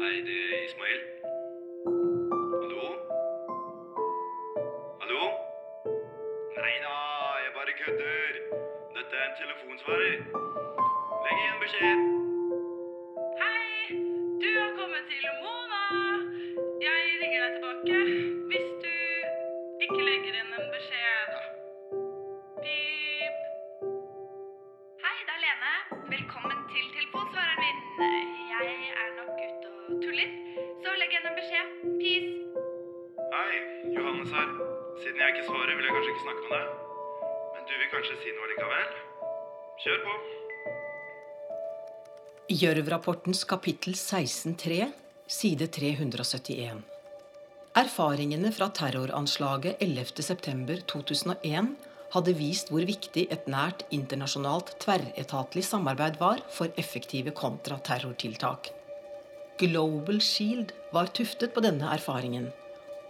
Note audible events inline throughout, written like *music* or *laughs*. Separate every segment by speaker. Speaker 1: Hei, det er Ismail. Hallo? Hallo? Nei da, jeg bare kødder. Dette er en telefonsvarer. Legg igjen beskjed.
Speaker 2: Hei, du har kommet til Mona. Jeg ringer deg tilbake hvis du ikke legger inn en beskjed, da. Pip. Hei, det er Lene. Velkommen til telefonsvareren min. Jeg er nok ute og tuller, så legg igjen en beskjed. Peace.
Speaker 1: Hei, Johannes her. Siden jeg ikke svarer, vil jeg kanskje ikke snakke med deg. Men du vil kanskje si noe likevel? Kjør på.
Speaker 3: Gjørv-rapportens kapittel 16.3, side 371. Erfaringene fra terroranslaget 11.9.2001 hadde vist hvor viktig et nært internasjonalt tverretatlig samarbeid var for effektive kontraterrortiltak. Global Shield var tuftet på denne erfaringen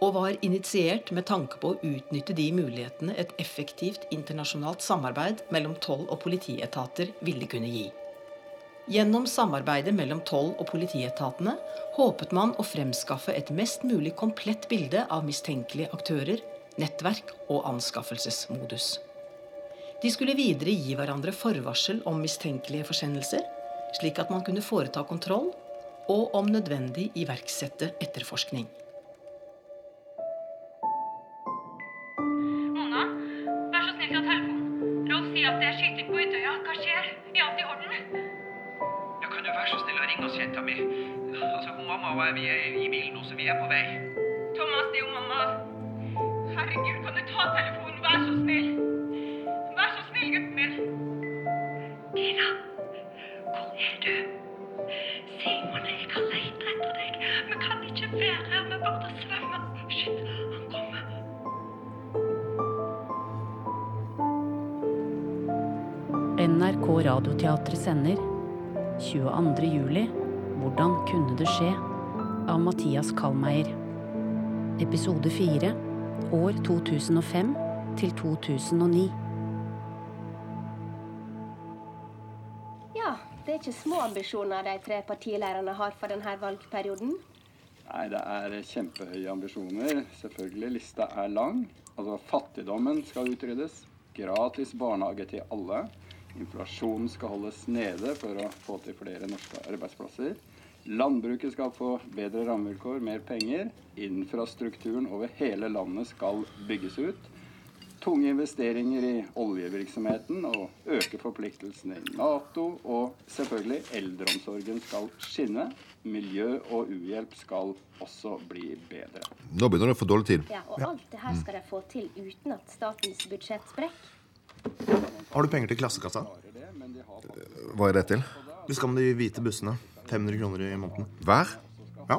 Speaker 3: og var initiert med tanke på å utnytte de mulighetene et effektivt internasjonalt samarbeid mellom toll- og politietater ville kunne gi. Gjennom samarbeidet mellom toll- og politietatene håpet man å fremskaffe et mest mulig komplett bilde av mistenkelige aktører, nettverk og anskaffelsesmodus. De skulle videre gi hverandre forvarsel om mistenkelige forsendelser, slik at man kunne foreta kontroll og om nødvendig iverksette etterforskning.
Speaker 2: Mona, vær så snill ta telefonen. Rolf sier at det er skyting på Utøya. Hva skjer? Er alt i orden?
Speaker 4: Ja, kan du være så snill å ringe oss, jenta mi? Altså, hun mamma og jeg vi er i bilen nå, så vi er på vei.
Speaker 2: Thomas, det er jo mamma. Herregud, kan du ta telefonen? Vær så snill. Vær så snill, gutten min.
Speaker 5: Tina, hvor er du? Simon og jeg har lett etter deg. Vi kan ikke være her, vi burde svømme. Shit, han kommer.
Speaker 6: NRK Radioteatret sender 22. juli Hvordan kunne det skje? av Mathias Kallmeier. Episode 4 år 2005 til 2009.
Speaker 7: Ja, det er ikke små ambisjoner de tre partilærerne har for denne valgperioden.
Speaker 8: Nei, det er kjempehøye ambisjoner. Selvfølgelig, lista er lang. Altså, fattigdommen skal utryddes. Gratis barnehage til alle. Inflasjonen skal holdes nede for å få til flere norske arbeidsplasser. Landbruket skal få bedre rammevilkår, mer penger. Infrastrukturen over hele landet skal bygges ut. Tunge investeringer i oljevirksomheten og øke forpliktelsene i Nato. Og selvfølgelig, eldreomsorgen skal skinne. Miljø og uhjelp skal også bli bedre.
Speaker 9: Nå begynner det å få dårlig tid.
Speaker 7: Ja, Og alt det her skal de få til uten at statens budsjett sprekker.
Speaker 10: Har du penger til klassekassa?
Speaker 9: Hva er det til?
Speaker 10: Du skal med de hvite bussene. 500 kroner i måneden.
Speaker 9: Hver?
Speaker 10: Ja.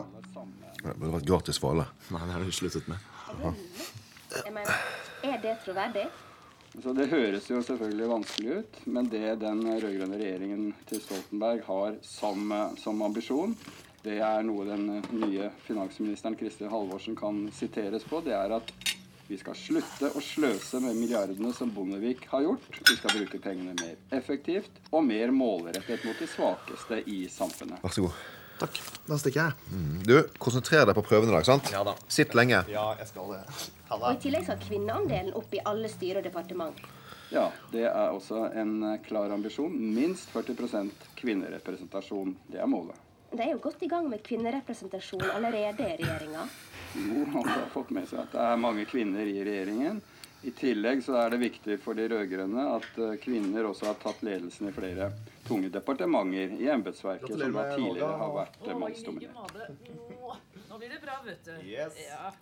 Speaker 9: Det burde vært gratis for alle.
Speaker 10: Nei, det har du sluttet med.
Speaker 7: Jeg mener, er det troverdig?
Speaker 8: Så Det høres jo selvfølgelig vanskelig ut, men det den rød-grønne regjeringen til Stoltenberg har som, eh, som ambisjon, det er noe den nye finansministeren Kristin Halvorsen kan siteres på. Det er at vi skal slutte å sløse med milliardene som Bondevik har gjort. Vi skal bruke pengene mer effektivt og mer målrettet mot de svakeste i samfunnet.
Speaker 9: Vær så god. Mm.
Speaker 10: Takk. Da stikker jeg.
Speaker 9: Du, konsentrer deg på prøven i dag, sant?
Speaker 10: Ja da.
Speaker 9: Sitt lenge.
Speaker 10: Ja, jeg skal det.
Speaker 7: Og i tillegg skal kvinneandelen opp i alle styre og departement.
Speaker 8: Ja, det er også en eh, klar ambisjon. Minst 40 kvinnerepresentasjon. Det er målet.
Speaker 7: De er jo godt i gang med kvinnerepresentasjon allerede i regjeringa.
Speaker 8: Jo, han har fått med seg at det er mange kvinner i regjeringen. I tillegg så er det viktig for de rød-grønne at eh, kvinner også har tatt ledelsen i flere tunge departementer i embetsverket, som da
Speaker 10: Gratulerer med
Speaker 8: tidligere
Speaker 10: valget.
Speaker 8: har vært eh, mannsdominert.
Speaker 2: Nå blir det bra, vet du.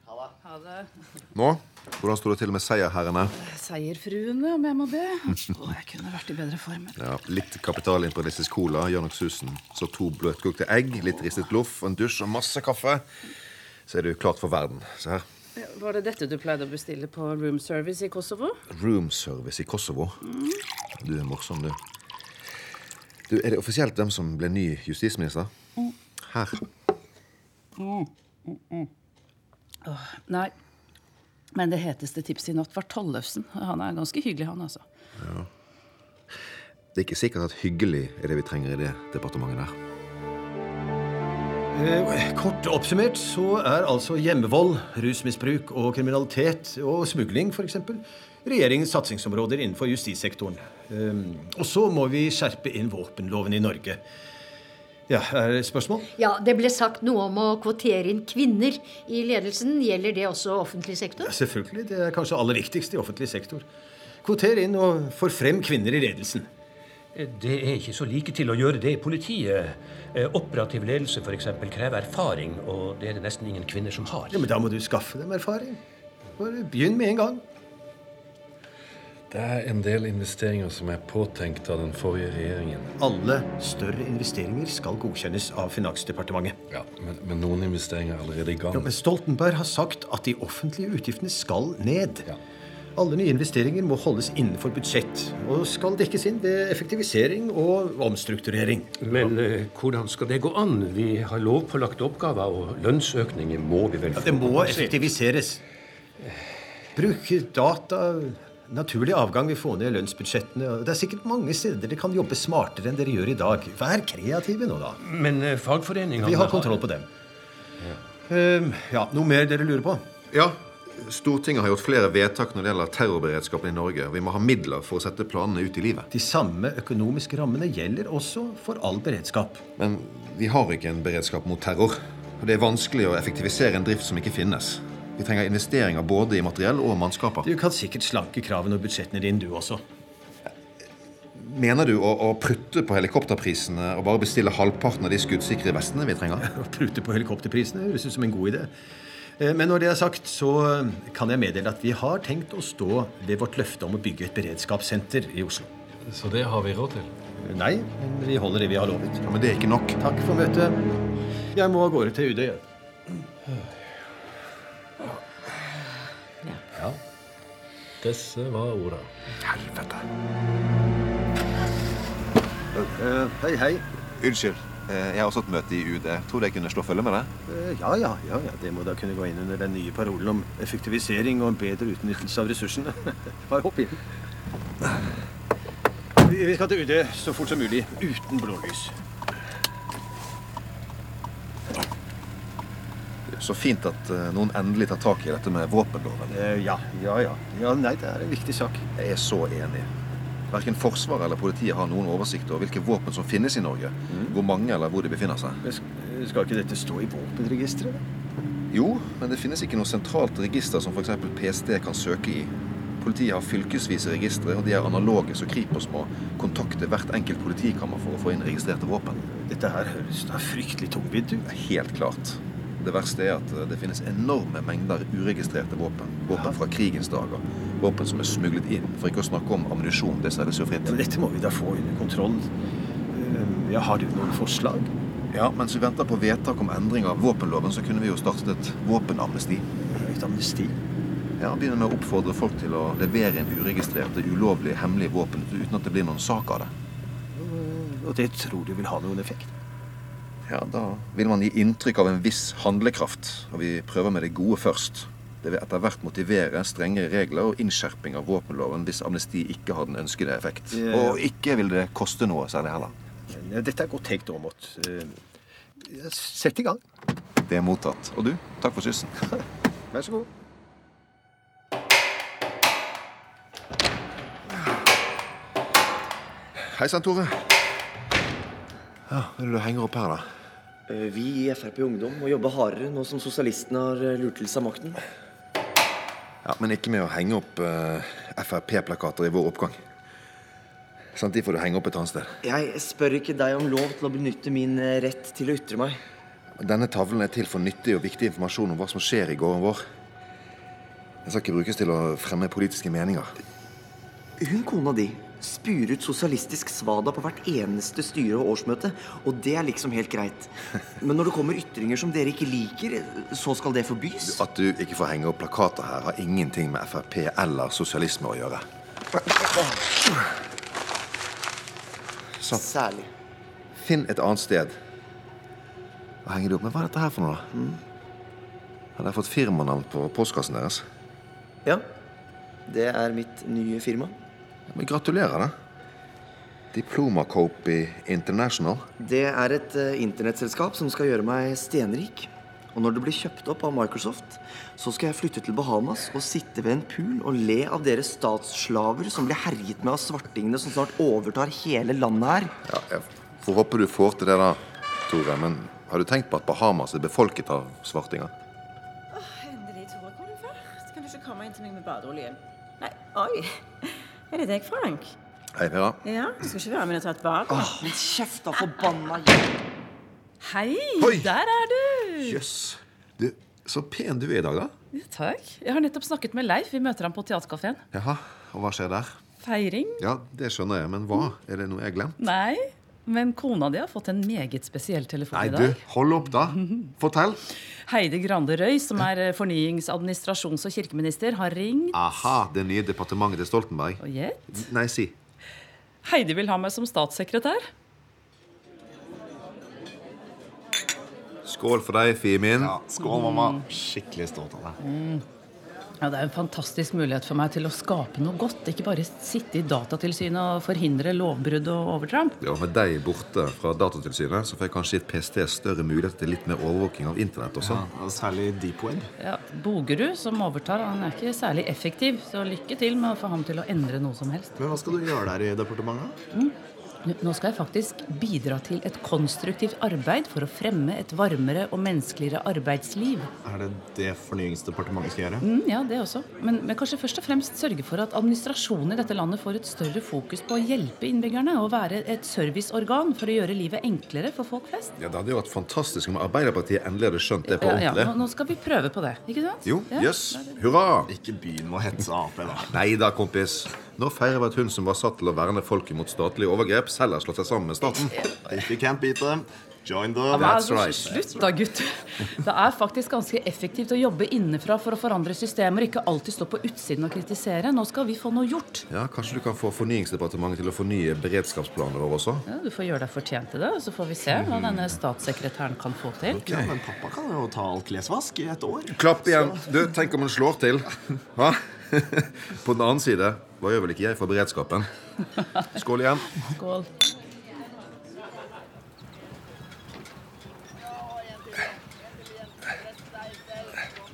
Speaker 2: Ha det.
Speaker 9: Nå, hvordan står det til med seierherrene? *laughs*
Speaker 11: Seierfruene, om jeg må be. Å, jeg kunne vært i bedre form.
Speaker 9: Ja, litt kapitalimperialistisk cola gjør nok susen. Så to bløtkokte egg, litt ristet loff, en dusj og masse kaffe. Så er du klart for verden. Se her.
Speaker 11: Var det dette du pleide å bestille på room service i Kosovo?
Speaker 9: Room service i Kosovo.
Speaker 11: Mm.
Speaker 9: Du er morsom, du. Du, Er det offisielt hvem som ble ny justisminister? Her.
Speaker 11: Åh, nei. Men det heteste tipset i natt var Tollefsen. Han er ganske hyggelig, han, altså.
Speaker 9: Det er ikke sikkert at hyggelig er det vi trenger i det departementet der.
Speaker 12: Eh, Kort oppsummert så er altså hjemmevold, rusmisbruk og kriminalitet og smugling f.eks. regjeringens satsingsområder innenfor justissektoren. Eh, Og så må vi skjerpe inn våpenloven i Norge. Ja, er det spørsmål?
Speaker 13: Ja, Det ble sagt noe om å kvotere inn kvinner i ledelsen. Gjelder det også offentlig sektor?
Speaker 12: Ja, selvfølgelig. Det er kanskje aller viktigst i offentlig sektor. Kvoter inn og få frem kvinner i ledelsen.
Speaker 14: Det er ikke så like til å gjøre det i politiet. Eh, Operativ ledelse for eksempel, krever erfaring, og det er det nesten ingen kvinner som har.
Speaker 12: Ja, men da må du skaffe dem erfaring. Bare begynn med en gang.
Speaker 15: Det er en del investeringer som er påtenkt av den forrige regjeringen.
Speaker 12: Alle større investeringer skal godkjennes av Finansdepartementet.
Speaker 15: Ja, men, men noen investeringer er allerede i gang.
Speaker 12: Ja, men Stoltenberg har sagt at de offentlige utgiftene skal ned. Alle nye investeringer må holdes innenfor budsjett og skal dekkes inn ved effektivisering og omstrukturering.
Speaker 14: Men eh, hvordan skal det gå an? Vi har lovpålagte oppgaver, og lønnsøkninger må vi vel
Speaker 12: Ja, det må effektiviseres. Bruk data, naturlig avgang vil få ned lønnsbudsjettene. og Det er sikkert mange steder dere kan jobbe smartere enn dere gjør i dag. Vær kreative nå, da.
Speaker 14: Men eh, fagforeningene
Speaker 12: Vi har kontroll på dem. Ehm, ja, Noe mer dere lurer på?
Speaker 9: Ja. Stortinget har gjort flere vedtak når det gjelder terrorberedskapen i Norge. Vi må ha midler for å sette planene ut i livet.
Speaker 12: De samme økonomiske rammene gjelder også for all beredskap.
Speaker 9: Men vi har ikke en beredskap mot terror. Og det er vanskelig å effektivisere en drift som ikke finnes. Vi trenger investeringer både i materiell og mannskaper.
Speaker 12: Du kan sikkert slanke kravene og budsjettene dine, du også.
Speaker 9: Mener du å, å prutte på helikopterprisene og bare bestille halvparten av de skuddsikre vestene vi trenger?
Speaker 12: *laughs* Å prute på helikopterprisene høres ut som en god idé. Eh, Men når det er sagt, så eh, kan jeg meddele at vi har tenkt å stå ved vårt løfte om å bygge et beredskapssenter i Oslo.
Speaker 15: Så det har vi råd til?
Speaker 12: Nei, men vi holder det vi har lovet.
Speaker 9: men det er ikke nok.
Speaker 12: Takk for møtet. Jeg må av gårde til UD. jeg.
Speaker 15: Ja. Disse var orda. Helvete.
Speaker 12: Eh,
Speaker 9: hei, hei. Unnskyld. eh, Jeg har også et møte i UD. Tror du jeg kunne slå følge med deg?
Speaker 12: Eh, Ja, ja, ja, ja. Det må da kunne gå inn under den nye parolen om effektivisering og en bedre utnyttelse av ressursene. *laughs* Bare hopp inn. Vi vi skal til UD så fort som mulig, uten blålys.
Speaker 9: Så fint at eh, noen endelig tar tak i dette med våpenloven.
Speaker 12: Eh, ja, ja, ja. Nei, det er en viktig sak.
Speaker 9: Jeg er så enig. Verken Forsvaret eller politiet har noen oversikt over hvilke våpen som finnes i Norge. Hvor mange eller hvor de befinner seg.
Speaker 12: Mm. Eh, Skal ikke dette stå i våpenregisteret?
Speaker 9: Jo, men det finnes ikke noe sentralt register som f.eks. PST kan søke i. Politiet har fylkesvise registre, og de er analoge, så Kripos må kontakte hvert enkelt politikammer for å få inn registrerte våpen.
Speaker 12: Dette her høres da fryktelig tungvint ut.
Speaker 9: Helt klart. Det verste er at eh, det finnes enorme mengder uregistrerte våpen. Våpen fra krigens dager. Våpen som er smuglet inn, for ikke å snakke om ammunisjon. Det selges jo fritt.
Speaker 12: Dette må vi da få under kontroll. Eh, Ja, har du noen forslag?
Speaker 9: Ja, mens vi venter på vedtak om endring av våpenloven, så kunne vi jo startet et våpenamnesti.
Speaker 12: Et amnesti?
Speaker 9: Ja, Begynne med å oppfordre folk til å levere inn uregistrerte, ulovlige, hemmelige våpen uten at det blir noen sak av det.
Speaker 12: Og det tror du vil ha noen effekt?
Speaker 9: Ja, da vil man gi inntrykk av en viss handlekraft, og vi prøver med det gode først. Det vil etter hvert motivere strengere regler og innskjerping av våpenloven hvis amnesti ikke har den ønskede effekt.
Speaker 12: Ja.
Speaker 9: Og ikke vil det koste noe særlig heller.
Speaker 12: Ja, Dette er godt tenkt, Aamodt. Eh, ja, Sett i gang.
Speaker 9: Det er mottatt. Og du, takk for kyssen.
Speaker 12: Vær så god.
Speaker 9: Hei sann, Tore. Ja, Hva er det du henger opp her, da?
Speaker 16: Eh, Vi i Frp Ungdom må jobbe hardere nå som sosialistene har eh, lurt til seg makten.
Speaker 9: Ja, Men ikke med å henge opp eh, Frp-plakater i vår oppgang. Sant, De får du henge opp et annet sted.
Speaker 16: Jeg spør ikke deg om lov til å benytte min eh, rett til å ytre meg.
Speaker 9: Denne tavlen er til for nyttig og viktig informasjon om hva som skjer i gården vår. Den skal ikke brukes til å fremme politiske meninger.
Speaker 16: Hun kona di spyr ut sosialistisk svada på hvert eneste styre og årsmøte, og det er liksom helt greit. Men når det kommer ytringer som dere ikke liker, eh, så skal det forbys?
Speaker 9: At du ikke får henge opp plakater her, har ingenting med Frp eller sosialisme å gjøre.
Speaker 16: Særlig.
Speaker 9: Finn et annet sted. Hva henger du opp med? Hva er dette her for noe? da? Har dere fått firmanavn på postkassen deres?
Speaker 16: Ja. Det er mitt nye firma.
Speaker 9: Men Gratulerer, da. Diploma-Cope International.
Speaker 16: Det er et eh, internettselskap som skal gjøre meg stenrik. Og når det blir kjøpt opp av Microsoft, så skal jeg flytte til Bahamas og sitte ved en pool og le av dere statsslaver som blir herjet med av svartingene som snart overtar hele landet her.
Speaker 9: Ja, jeg får håpe du får til det da, Tore. Men har du tenkt på at Bahamas er befolket av svartinger?
Speaker 17: Åh, endelig, Tore. Kom inn først. Kan du ikke komme inn til meg med badeoljen? Nei, oi. Er det deg, Frank?
Speaker 9: Hei, Vera.
Speaker 17: Ja, du skal ikke være med og ta et bad?
Speaker 16: Åh, men kjeft da, forbanna
Speaker 11: Hei, der er du!
Speaker 10: Jøss. Du, så pen du er i dag, da.
Speaker 11: Ja, takk. Jeg har nettopp snakket med Leif. Vi møter ham på teaterkafeen.
Speaker 9: Jaha, og hva skjer der?
Speaker 11: Feiring?
Speaker 9: Ja, det skjønner jeg, men hva? Er det noe jeg glemte?
Speaker 11: Nei, men kona di har fått en meget spesiell telefon
Speaker 9: Nei,
Speaker 11: i
Speaker 9: du,
Speaker 11: dag.
Speaker 9: hold opp, da. Fortell.
Speaker 11: Heidi Grande Røy, som er eh, fornyings-, administrasjons- og kirkeminister, har ringt.
Speaker 9: Aha, det nye departementet til Stoltenberg.
Speaker 11: Og gjett?
Speaker 9: Nei, si.
Speaker 11: Heidi vil ha meg som statssekretær.
Speaker 9: Skål for deg, Fimin. Ja,
Speaker 11: skål, mamma.
Speaker 9: Skikkelig stolt av deg.
Speaker 11: Mm. Ja, Det er en fantastisk mulighet for meg til å skape noe godt. Ikke bare sitte i Datatilsynet og forhindre lovbrudd og overtramp.
Speaker 9: Ja, Med deg borte fra Datatilsynet så får jeg kanskje gitt PST større mulighet til litt mer overvåking av internett også. Ja, Særlig deep web.
Speaker 11: Ja, Bogerud, som overtar, han er ikke særlig effektiv, så lykke til med å få ham til å endre noe som helst.
Speaker 10: Men hva skal du gjøre der i departementet?
Speaker 11: Mm. Nå skal jeg faktisk bidra til et konstruktivt arbeid for å fremme et varmere og menneskeligere arbeidsliv.
Speaker 10: Er det det Fornyingsdepartementet skal gjøre?
Speaker 11: Mm, ja, det også. Men, men kanskje først og fremst sørge for at administrasjonen i dette landet får et større fokus på å hjelpe innbyggerne og være et serviceorgan for å gjøre livet enklere for folk flest.
Speaker 9: Ja, Det hadde jo vært fantastisk om Arbeiderpartiet endelig hadde skjønt det på
Speaker 11: Ja, ja,
Speaker 9: ordentlig.
Speaker 11: nå, nå skal vi prøve på det, ikke sant?
Speaker 9: Jo,
Speaker 11: Ja.
Speaker 9: jøss. Hurra! Ikke begynn å hetse Ap, da. *laughs* Nei da, kompis. Nå feirer vi at hun som var satt til å verne folket mot statlige overgrep, selv har slått seg sammen med staten. If you can't beat them, join
Speaker 11: Ja,
Speaker 9: them.
Speaker 11: men altså, Slutt da, gutt. Det er faktisk ganske effektivt å jobbe innenfra for å forandre systemer, ikke alltid stå på utsiden og kritisere. Nå skal vi få noe gjort.
Speaker 9: Ja, Kanskje du kan få Fornyingsdepartementet til å fornye beredskapsplanene våre også?
Speaker 11: Ja, du får gjøre deg fortjent til det, og så får vi se hva denne statssekretæren kan få til.
Speaker 9: Mm. Ok. Ja, men
Speaker 11: pappa kan jo ta alt klesvask i et år.
Speaker 9: Klapp igjen. Du, tenk om hun slår til. Hva? *laughs* På den annen side, hva gjør vel ikke jeg for beredskapen? Skål igjen.
Speaker 11: Skål.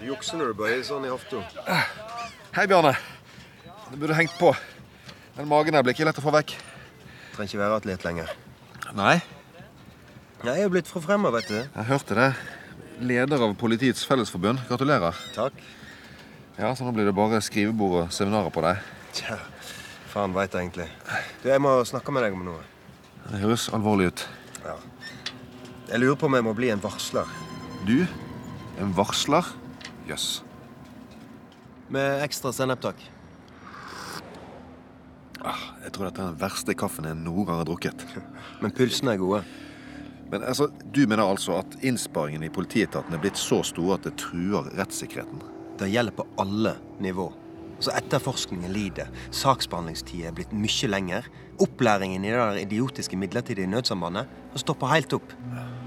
Speaker 18: Du jukser når du bøyer sånn i hofta.
Speaker 9: Hei, Bjarne. Du burde hengt på. Den magen her blir ikke lett å få vekk.
Speaker 18: Trenger ikke være atlet lenger.
Speaker 9: Nei.
Speaker 18: Nei, Jeg er blitt forfremma, vet du.
Speaker 9: Jeg hørte det. Leder av Politiets Fellesforbund. Gratulerer.
Speaker 18: Takk.
Speaker 9: Ja, Så nå blir det bare skrivebord og seminarer på deg.
Speaker 18: Tja, faen veit egentlig. Du, Jeg må snakke med deg om noe.
Speaker 9: Det høres alvorlig ut.
Speaker 18: Ja. Jeg lurer på om jeg må bli en varsler.
Speaker 9: Du? En varsler? Jøss.
Speaker 18: Med ekstra sennep, takk.
Speaker 9: Jeg tror dette er den verste kaffen jeg noen gang har drukket.
Speaker 18: *laughs* Men pulsene er gode.
Speaker 9: Men altså, Du mener altså at innsparingene i politietaten er blitt så store at det truer rettssikkerheten?
Speaker 18: Det gjelder på alle nivå. Så etterforskningen lider. Saksbehandlingstida er blitt mye lenger. Opplæringen i det der idiotiske midlertidige nødsambandet har stoppa helt opp.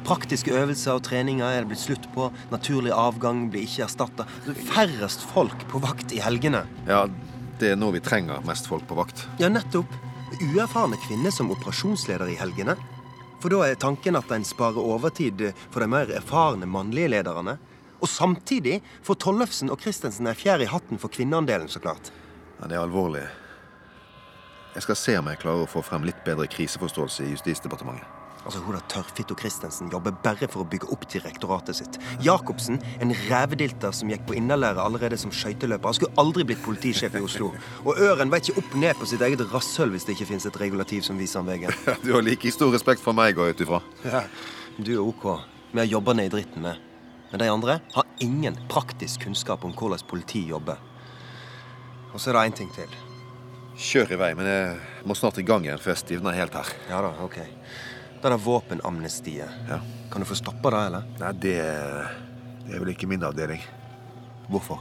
Speaker 18: Praktiske øvelser og treninger er det blitt slutt på. Naturlig avgang blir ikke erstatta. Færrest folk på vakt i helgene.
Speaker 9: Ja, det er nå vi trenger mest folk på vakt.
Speaker 18: Ja, nettopp. Uerfarne kvinner som operasjonsleder i helgene. For da er tanken at en sparer overtid for de mer erfarne mannlige lederne. Og samtidig får Tollefsen og Christensen ei fjær i hatten for kvinneandelen, så klart.
Speaker 9: Ja, Det er alvorlig. Jeg skal se om jeg klarer å få frem litt bedre kriseforståelse i Justisdepartementet.
Speaker 18: Altså, Hun der tørrfitto Christensen jobber bare for å bygge opp direktoratet sitt. Jacobsen, en revedilter som gikk på innerlære allerede som skøyteløper. Han skulle aldri blitt politisjef i Oslo. Og Øren vet ikke opp ned på sitt eget rasshøl hvis det ikke fins et regulativ som viser han veien.
Speaker 9: Du har like stor respekt for meg, går jeg ut ifra.
Speaker 18: Ja, du er ok. Vi har jobba ned i dritten, vi. Men de andre har ingen praktisk kunnskap om hvordan politi jobber. Og så er det én ting til.
Speaker 9: Kjør i vei, men jeg må snart i gang igjen, for jeg stivner helt her.
Speaker 18: Ja da, ok. Det der våpenamnestiet. Kan du få stoppa det, eller?
Speaker 9: Nei, det, det er vel ikke min avdeling.
Speaker 18: Hvorfor?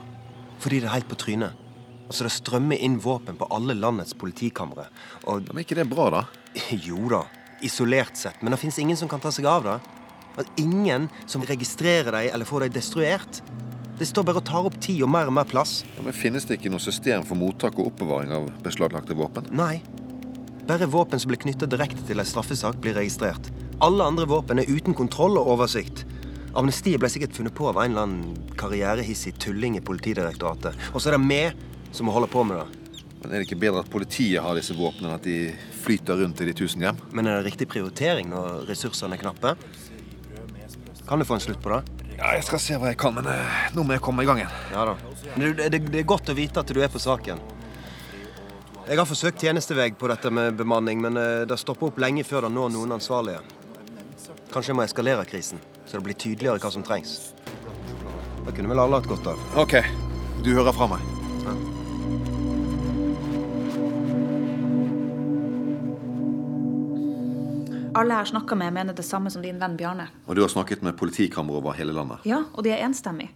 Speaker 18: Fordi det er helt på trynet. Altså, Det strømmer inn våpen på alle landets politikamre. Og...
Speaker 9: Men ikke det er bra, da?
Speaker 18: *laughs* Jo da, isolert sett. Men det fins ingen som kan ta seg av det. Altså, ingen som registrerer dem eller får dem destruert. Det står bare og tar opp tid og mer og mer plass.
Speaker 9: Ja, men Finnes det ikke noe system for mottak og oppbevaring av beslaglagte våpen?
Speaker 18: Nei. Bare våpen som blir knytta direkte til ei straffesak, blir registrert. Alle andre våpen er uten kontroll og oversikt. Amnestiet ble sikkert funnet på av en eller annen karrierehissig tulling i Politidirektoratet. Og så er det vi som må holde på med det.
Speaker 9: Men Er det ikke bedre at politiet har disse våpnene, enn at de flyter rundt i de tusen hjem?
Speaker 18: Men er det riktig prioritering når ressursene er knappe? Kan du få en slutt på det?
Speaker 9: Ja, Jeg skal se hva jeg kan, men eh, nå må jeg komme i gang igjen.
Speaker 18: Ja da. Men det, det, det er godt å vite at du er på saken. Jeg har forsøkt tjenestevei på dette med bemanning, men eh, det stopper opp lenge før det når noen ansvarlige. Kanskje jeg må eskalere krisen, så det blir tydeligere hva som trengs. Det kunne vel alle hatt godt av.
Speaker 9: OK. Du hører fra meg.
Speaker 19: Alle jeg har snakka med, mener det samme som din venn Bjarne.
Speaker 9: Og du har snakket med politikamre over hele landet.
Speaker 19: Ja, og de er enstemmige.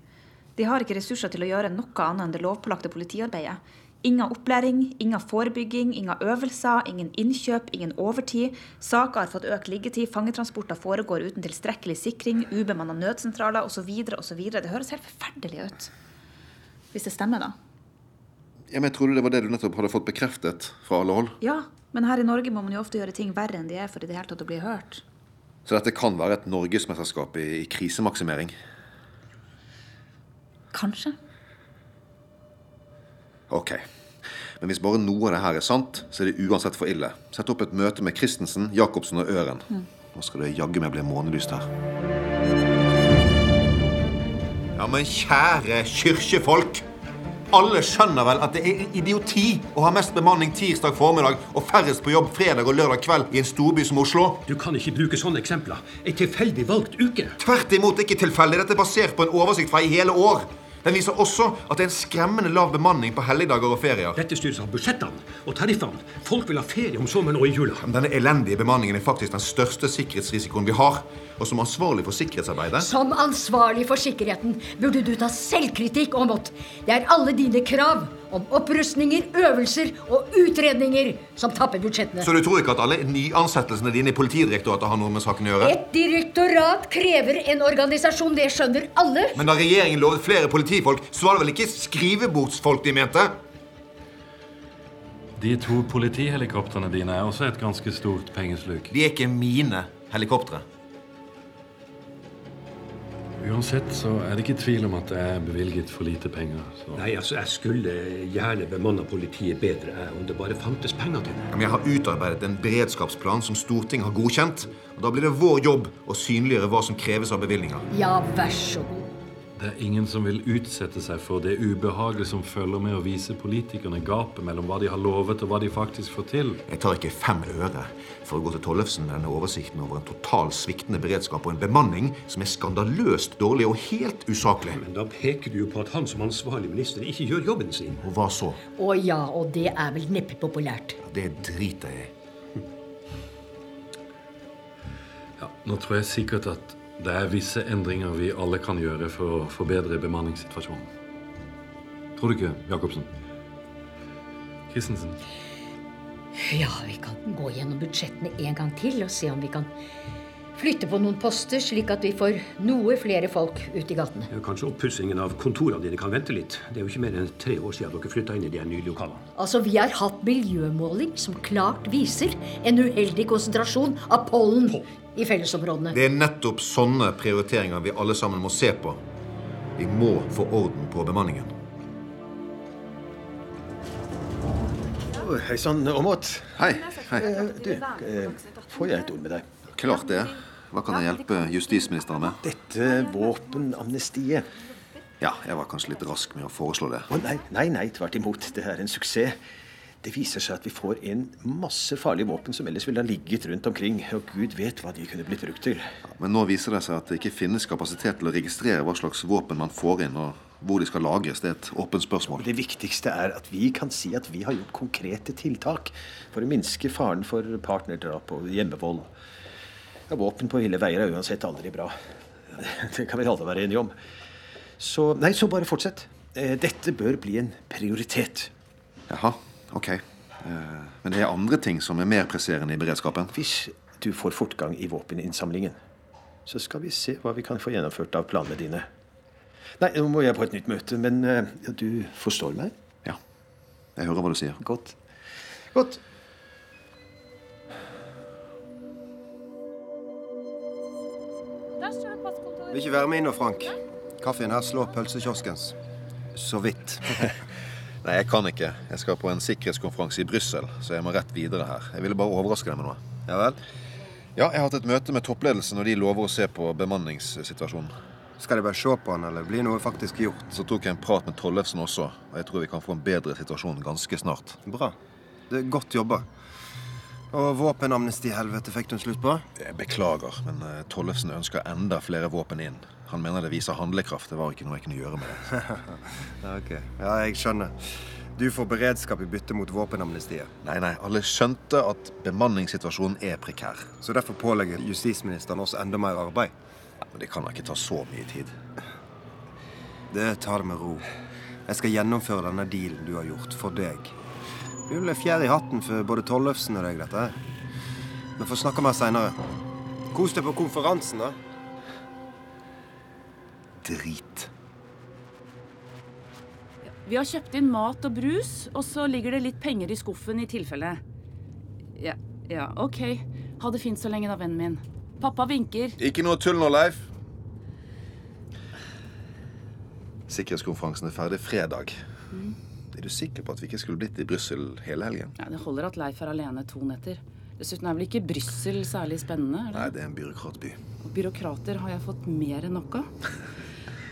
Speaker 19: De har ikke ressurser til å gjøre noe annet enn det lovpålagte politiarbeidet. Inga opplæring, inga forebygging, inga øvelser, ingen innkjøp, ingen overtid. Saker har fått økt liggetid, fangetransporter foregår uten tilstrekkelig sikring, ubemanna nødsentraler osv. osv. Det høres helt forferdelig ut. Hvis det stemmer, da.
Speaker 9: Ja, men Jeg trodde det var det du nettopp hadde fått bekreftet fra alle hold.
Speaker 19: Ja, men her i Norge må man jo ofte gjøre ting verre enn de er for i det hele tatt å bli hørt.
Speaker 9: Så dette kan være et norgesmesterskap i, i krisemaksimering.
Speaker 19: Kanskje.
Speaker 9: Ok. Men hvis bare noe av det her er sant, så er det uansett for ille. Sett opp et møte med Christensen, Jacobsen og Øren.
Speaker 19: Mm.
Speaker 9: Nå skal det jaggu meg bli månelyst her.
Speaker 20: Ja, men kjære kirkefolk. Alle skjønner vel at det er idioti å ha mest bemanning tirsdag formiddag og færrest på jobb fredag og lørdag kveld i en storby som Oslo? Du kan ikke bruke sånne eksempler. En tilfeldig valgt uke. Tvert imot ikke tilfeldig. Dette er basert på en oversikt fra i hele år. Den viser også at det er en skremmende lav bemanning på helligdager og ferier. Dette styres av budsjettene og tariffene. Folk vil ha ferie om sommeren og i jula. Denne elendige bemanningen er faktisk den største sikkerhetsrisikoen vi har. Og som ansvarlig for sikkerhetsarbeidet
Speaker 13: Som ansvarlig for sikkerheten burde du ta selvkritikk, Aamodt. Det er alle dine krav om opprustninger, øvelser og utredninger som tapper budsjettene.
Speaker 20: Så du tror ikke at alle nyansettelsene dine i Politidirektoratet har noe med saken å gjøre?
Speaker 13: Et direktorat krever en organisasjon, det skjønner alle.
Speaker 20: Men da regjeringen lovet flere politifolk, så var det vel ikke skrivebordsfolk de mente?
Speaker 15: De to politihelikoptrene dine er også et ganske stort pengesluk.
Speaker 20: De er ikke mine helikoptre.
Speaker 15: Uansett så er det ikke tvil om at det er bevilget for lite penger. Så.
Speaker 14: Nei, altså, jeg skulle gjerne bemanna politiet bedre jeg, Eh, om det bare fantes penger til det.
Speaker 20: Men jeg har utarbeidet en beredskapsplan som Stortinget har godkjent. Og da blir det vår jobb å synliggjøre hva som kreves av bevilgninger.
Speaker 13: Ja, vær så god.
Speaker 15: Det er ingen som vil utsette seg for det ubehaget som følger med å vise politikerne gapet mellom hva de har lovet og hva de faktisk får til.
Speaker 20: Jeg tar ikke fem øre for å gå til Tollefsen med denne oversikten over en total sviktende beredskap og en bemanning som er skandaløst dårlig og helt usaklig.
Speaker 14: Men da peker du jo på at han som ansvarlig minister ikke gjør jobben sin.
Speaker 20: Og hva så?
Speaker 13: Å ja, og det er vel neppe populært.
Speaker 20: Det driter jeg i.
Speaker 15: Nå tror jeg sikkert at det er visse endringer vi alle kan gjøre for å forbedre bemanningssituasjonen. Tror du ikke, Jacobsen? Christensen?
Speaker 13: Ja, vi kan gå gjennom budsjettene en gang til og se om vi kan flytte på noen poster, slik at vi får noe flere folk ut i gatene.
Speaker 14: Ja, Kanskje oppussingen av kontorene dine kan vente litt. Det er jo ikke mer enn tre år siden dere flytta inn i de her nye lokalene.
Speaker 13: Altså, Vi har hatt miljømåling som klart viser en uheldig konsentrasjon av pollen i fellesområdene.
Speaker 20: Det er nettopp sånne prioriteringer vi alle sammen må se på. Vi må få orden på bemanningen.
Speaker 12: Å, Hei sann, Aamodt.
Speaker 9: Hei. Hei.
Speaker 12: Eh, Du, eh, får jeg et ord med deg?
Speaker 9: Klart det. Hva kan jeg hjelpe justisministeren med?
Speaker 12: Dette våpenamnestiet.
Speaker 9: Ja, jeg var kanskje litt rask med å foreslå det.
Speaker 12: Å nei, nei, nei, tvert imot. Det er en suksess. Det viser seg at vi får en masse farlige våpen som ellers ville ha ligget rundt omkring. Og gud vet hva de kunne blitt brukt til.
Speaker 9: Men nå viser det seg at det ikke finnes kapasitet til å registrere hva slags våpen man får inn, og hvor de skal lagres. Det er et åpent spørsmål.
Speaker 12: Det viktigste er at vi kan si at vi har gjort konkrete tiltak for å minske faren for partnerdrap og hjemmevold. Ja, våpen på ville veier er uansett aldri bra. *laughs* Det kan vi alle være enige om. Så, nei, så bare fortsett. Eh, Dette bør bli en prioritet.
Speaker 9: Jaha, ok. Eh, Men det er andre ting som er mer presserende i beredskapen.
Speaker 12: Hvis du får fortgang i våpeninnsamlingen, så skal vi se hva vi kan få gjennomført av planene dine. Nei, nå må jeg på et nytt møte, men eh, du forstår meg?
Speaker 9: Jeg hører hva du sier.
Speaker 12: Godt. Godt.
Speaker 18: Vil ikke være med inn nå, Frank. Kaffen her slår pølsekioskens.
Speaker 9: Så vidt. Nei, jeg kan ikke. Jeg skal på en sikkerhetskonferanse i Brussel, så jeg må rett videre her. Jeg ville bare overraske deg med noe. Ja vel? Ja, jeg har hatt et møte med toppledelsen, og de lover å se på bemanningssituasjonen. Skal de bare se på den, eller blir noe faktisk gjort? Så tok jeg en prat med Tollefsen også, og jeg tror vi kan få en bedre situasjon ganske snart.
Speaker 18: Bra. Det er godt jobba. Og våpenamnesti-helvete fikk du en slutt på?
Speaker 9: Jeg beklager, men eh, Tollefsen ønsker enda flere våpen inn. Han mener det viser handlekraft. Det var ikke noe jeg kunne gjøre med det.
Speaker 18: Ja, ok. Ja, jeg skjønner. Du får beredskap i bytte mot våpenamnestiet.
Speaker 9: Nei, nei, alle skjønte at bemanningssituasjonen er prekær.
Speaker 18: Så derfor pålegger justisministeren oss enda mer arbeid.
Speaker 9: Men det kan da ikke ta så mye tid.
Speaker 18: Det tar det med ro. Jeg skal gjennomføre denne dealen du har gjort, for deg. Det blir vel en fjær i hatten for både Tollefsen og deg, dette her. Vi får snakke mer seinere. Kos deg på konferansen, da.
Speaker 9: Drit.
Speaker 11: Vi har kjøpt inn mat og brus, og så ligger det litt penger i skuffen i tilfelle. Ja, ja, ok. Ha det fint så lenge da, vennen min. Pappa vinker.
Speaker 9: Ikke noe tull nå, Leif. Sikkerhetskonferansen er ferdig fredag.
Speaker 11: Mm.
Speaker 9: Er du sikker på at vi ikke skulle blitt i Brussel hele helgen?
Speaker 11: Ja, det holder at Leif er alene to netter. Dessuten er vel ikke Brussel særlig spennende? Er det?
Speaker 9: Nei, det er en byråkratby.
Speaker 11: Og byråkrater har jeg fått mer enn nok av.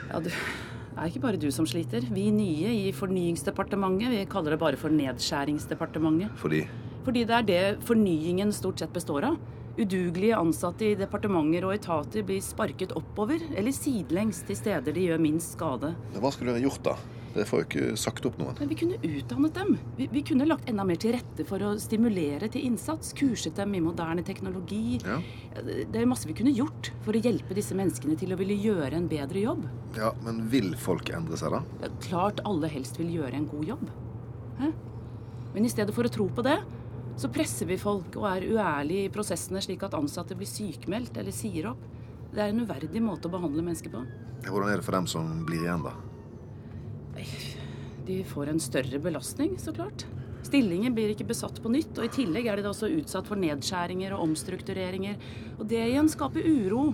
Speaker 11: Ja, du, det er ikke bare du som sliter. Vi nye i Fornyingsdepartementet vi kaller det bare for Nedskjæringsdepartementet.
Speaker 9: Fordi
Speaker 11: Fordi det er det fornyingen stort sett består av. Udugelige ansatte i departementer og etater blir sparket oppover eller sidelengs til steder de gjør minst skade.
Speaker 9: Men Hva skulle dere gjort, da? Dere får jo ikke sagt opp noen.
Speaker 11: Men vi kunne utdannet dem. Vi, vi kunne lagt enda mer til rette for å stimulere til innsats. Kurset dem i moderne teknologi.
Speaker 9: Ja.
Speaker 11: Det det er masse vi kunne gjort for å hjelpe disse menneskene til å ville gjøre en bedre jobb.
Speaker 9: ja, Men vil folk endre seg, da?
Speaker 11: Det er klart alle helst vil gjøre en god jobb. Hæ? Men i stedet for å tro på det, så presser vi folk og er uærlige i prosessene slik at ansatte blir sykmeldt eller sier opp. Det er en uverdig måte å behandle mennesker på.
Speaker 9: Hvordan er det for dem som blir igjen, da?
Speaker 11: De får en større belastning, så klart. Stillingen blir ikke besatt på nytt, og i tillegg er de da også utsatt for nedskjæringer og omstruktureringer. Og det igjen skaper uro,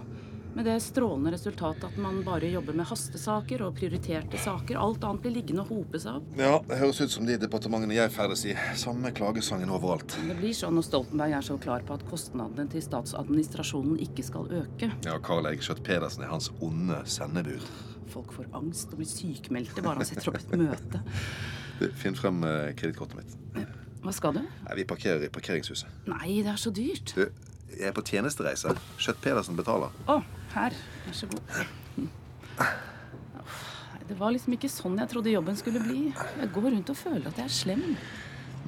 Speaker 11: med det strålende resultatet at man bare jobber med hastesaker og prioriterte saker. Alt annet blir liggende og hope seg opp.
Speaker 9: Ja, Det høres ut som de departementene jeg ferdes i. Samme klagesangen overalt.
Speaker 11: Det blir sånn når Stoltenberg er så klar på at kostnadene til statsadministrasjonen ikke skal øke.
Speaker 9: Ja, Karl Erik Skjøtt Pedersen er hans onde sendebud.
Speaker 11: Folk får angst og blir sykmeldte bare han setter opp et møte.
Speaker 9: *laughs* Du, Finn frem eh, kredittkortet mitt.
Speaker 11: Hva skal du?
Speaker 9: Nei, Vi parkerer i parkeringshuset.
Speaker 11: Nei, det er så dyrt.
Speaker 9: Du, jeg er på tjenestereise. Skjøtt Pedersen betaler.
Speaker 11: Å, her. Vær så god. Uff, nei, Det var liksom ikke sånn jeg trodde jobben skulle bli. Jeg går rundt og føler at jeg er slem.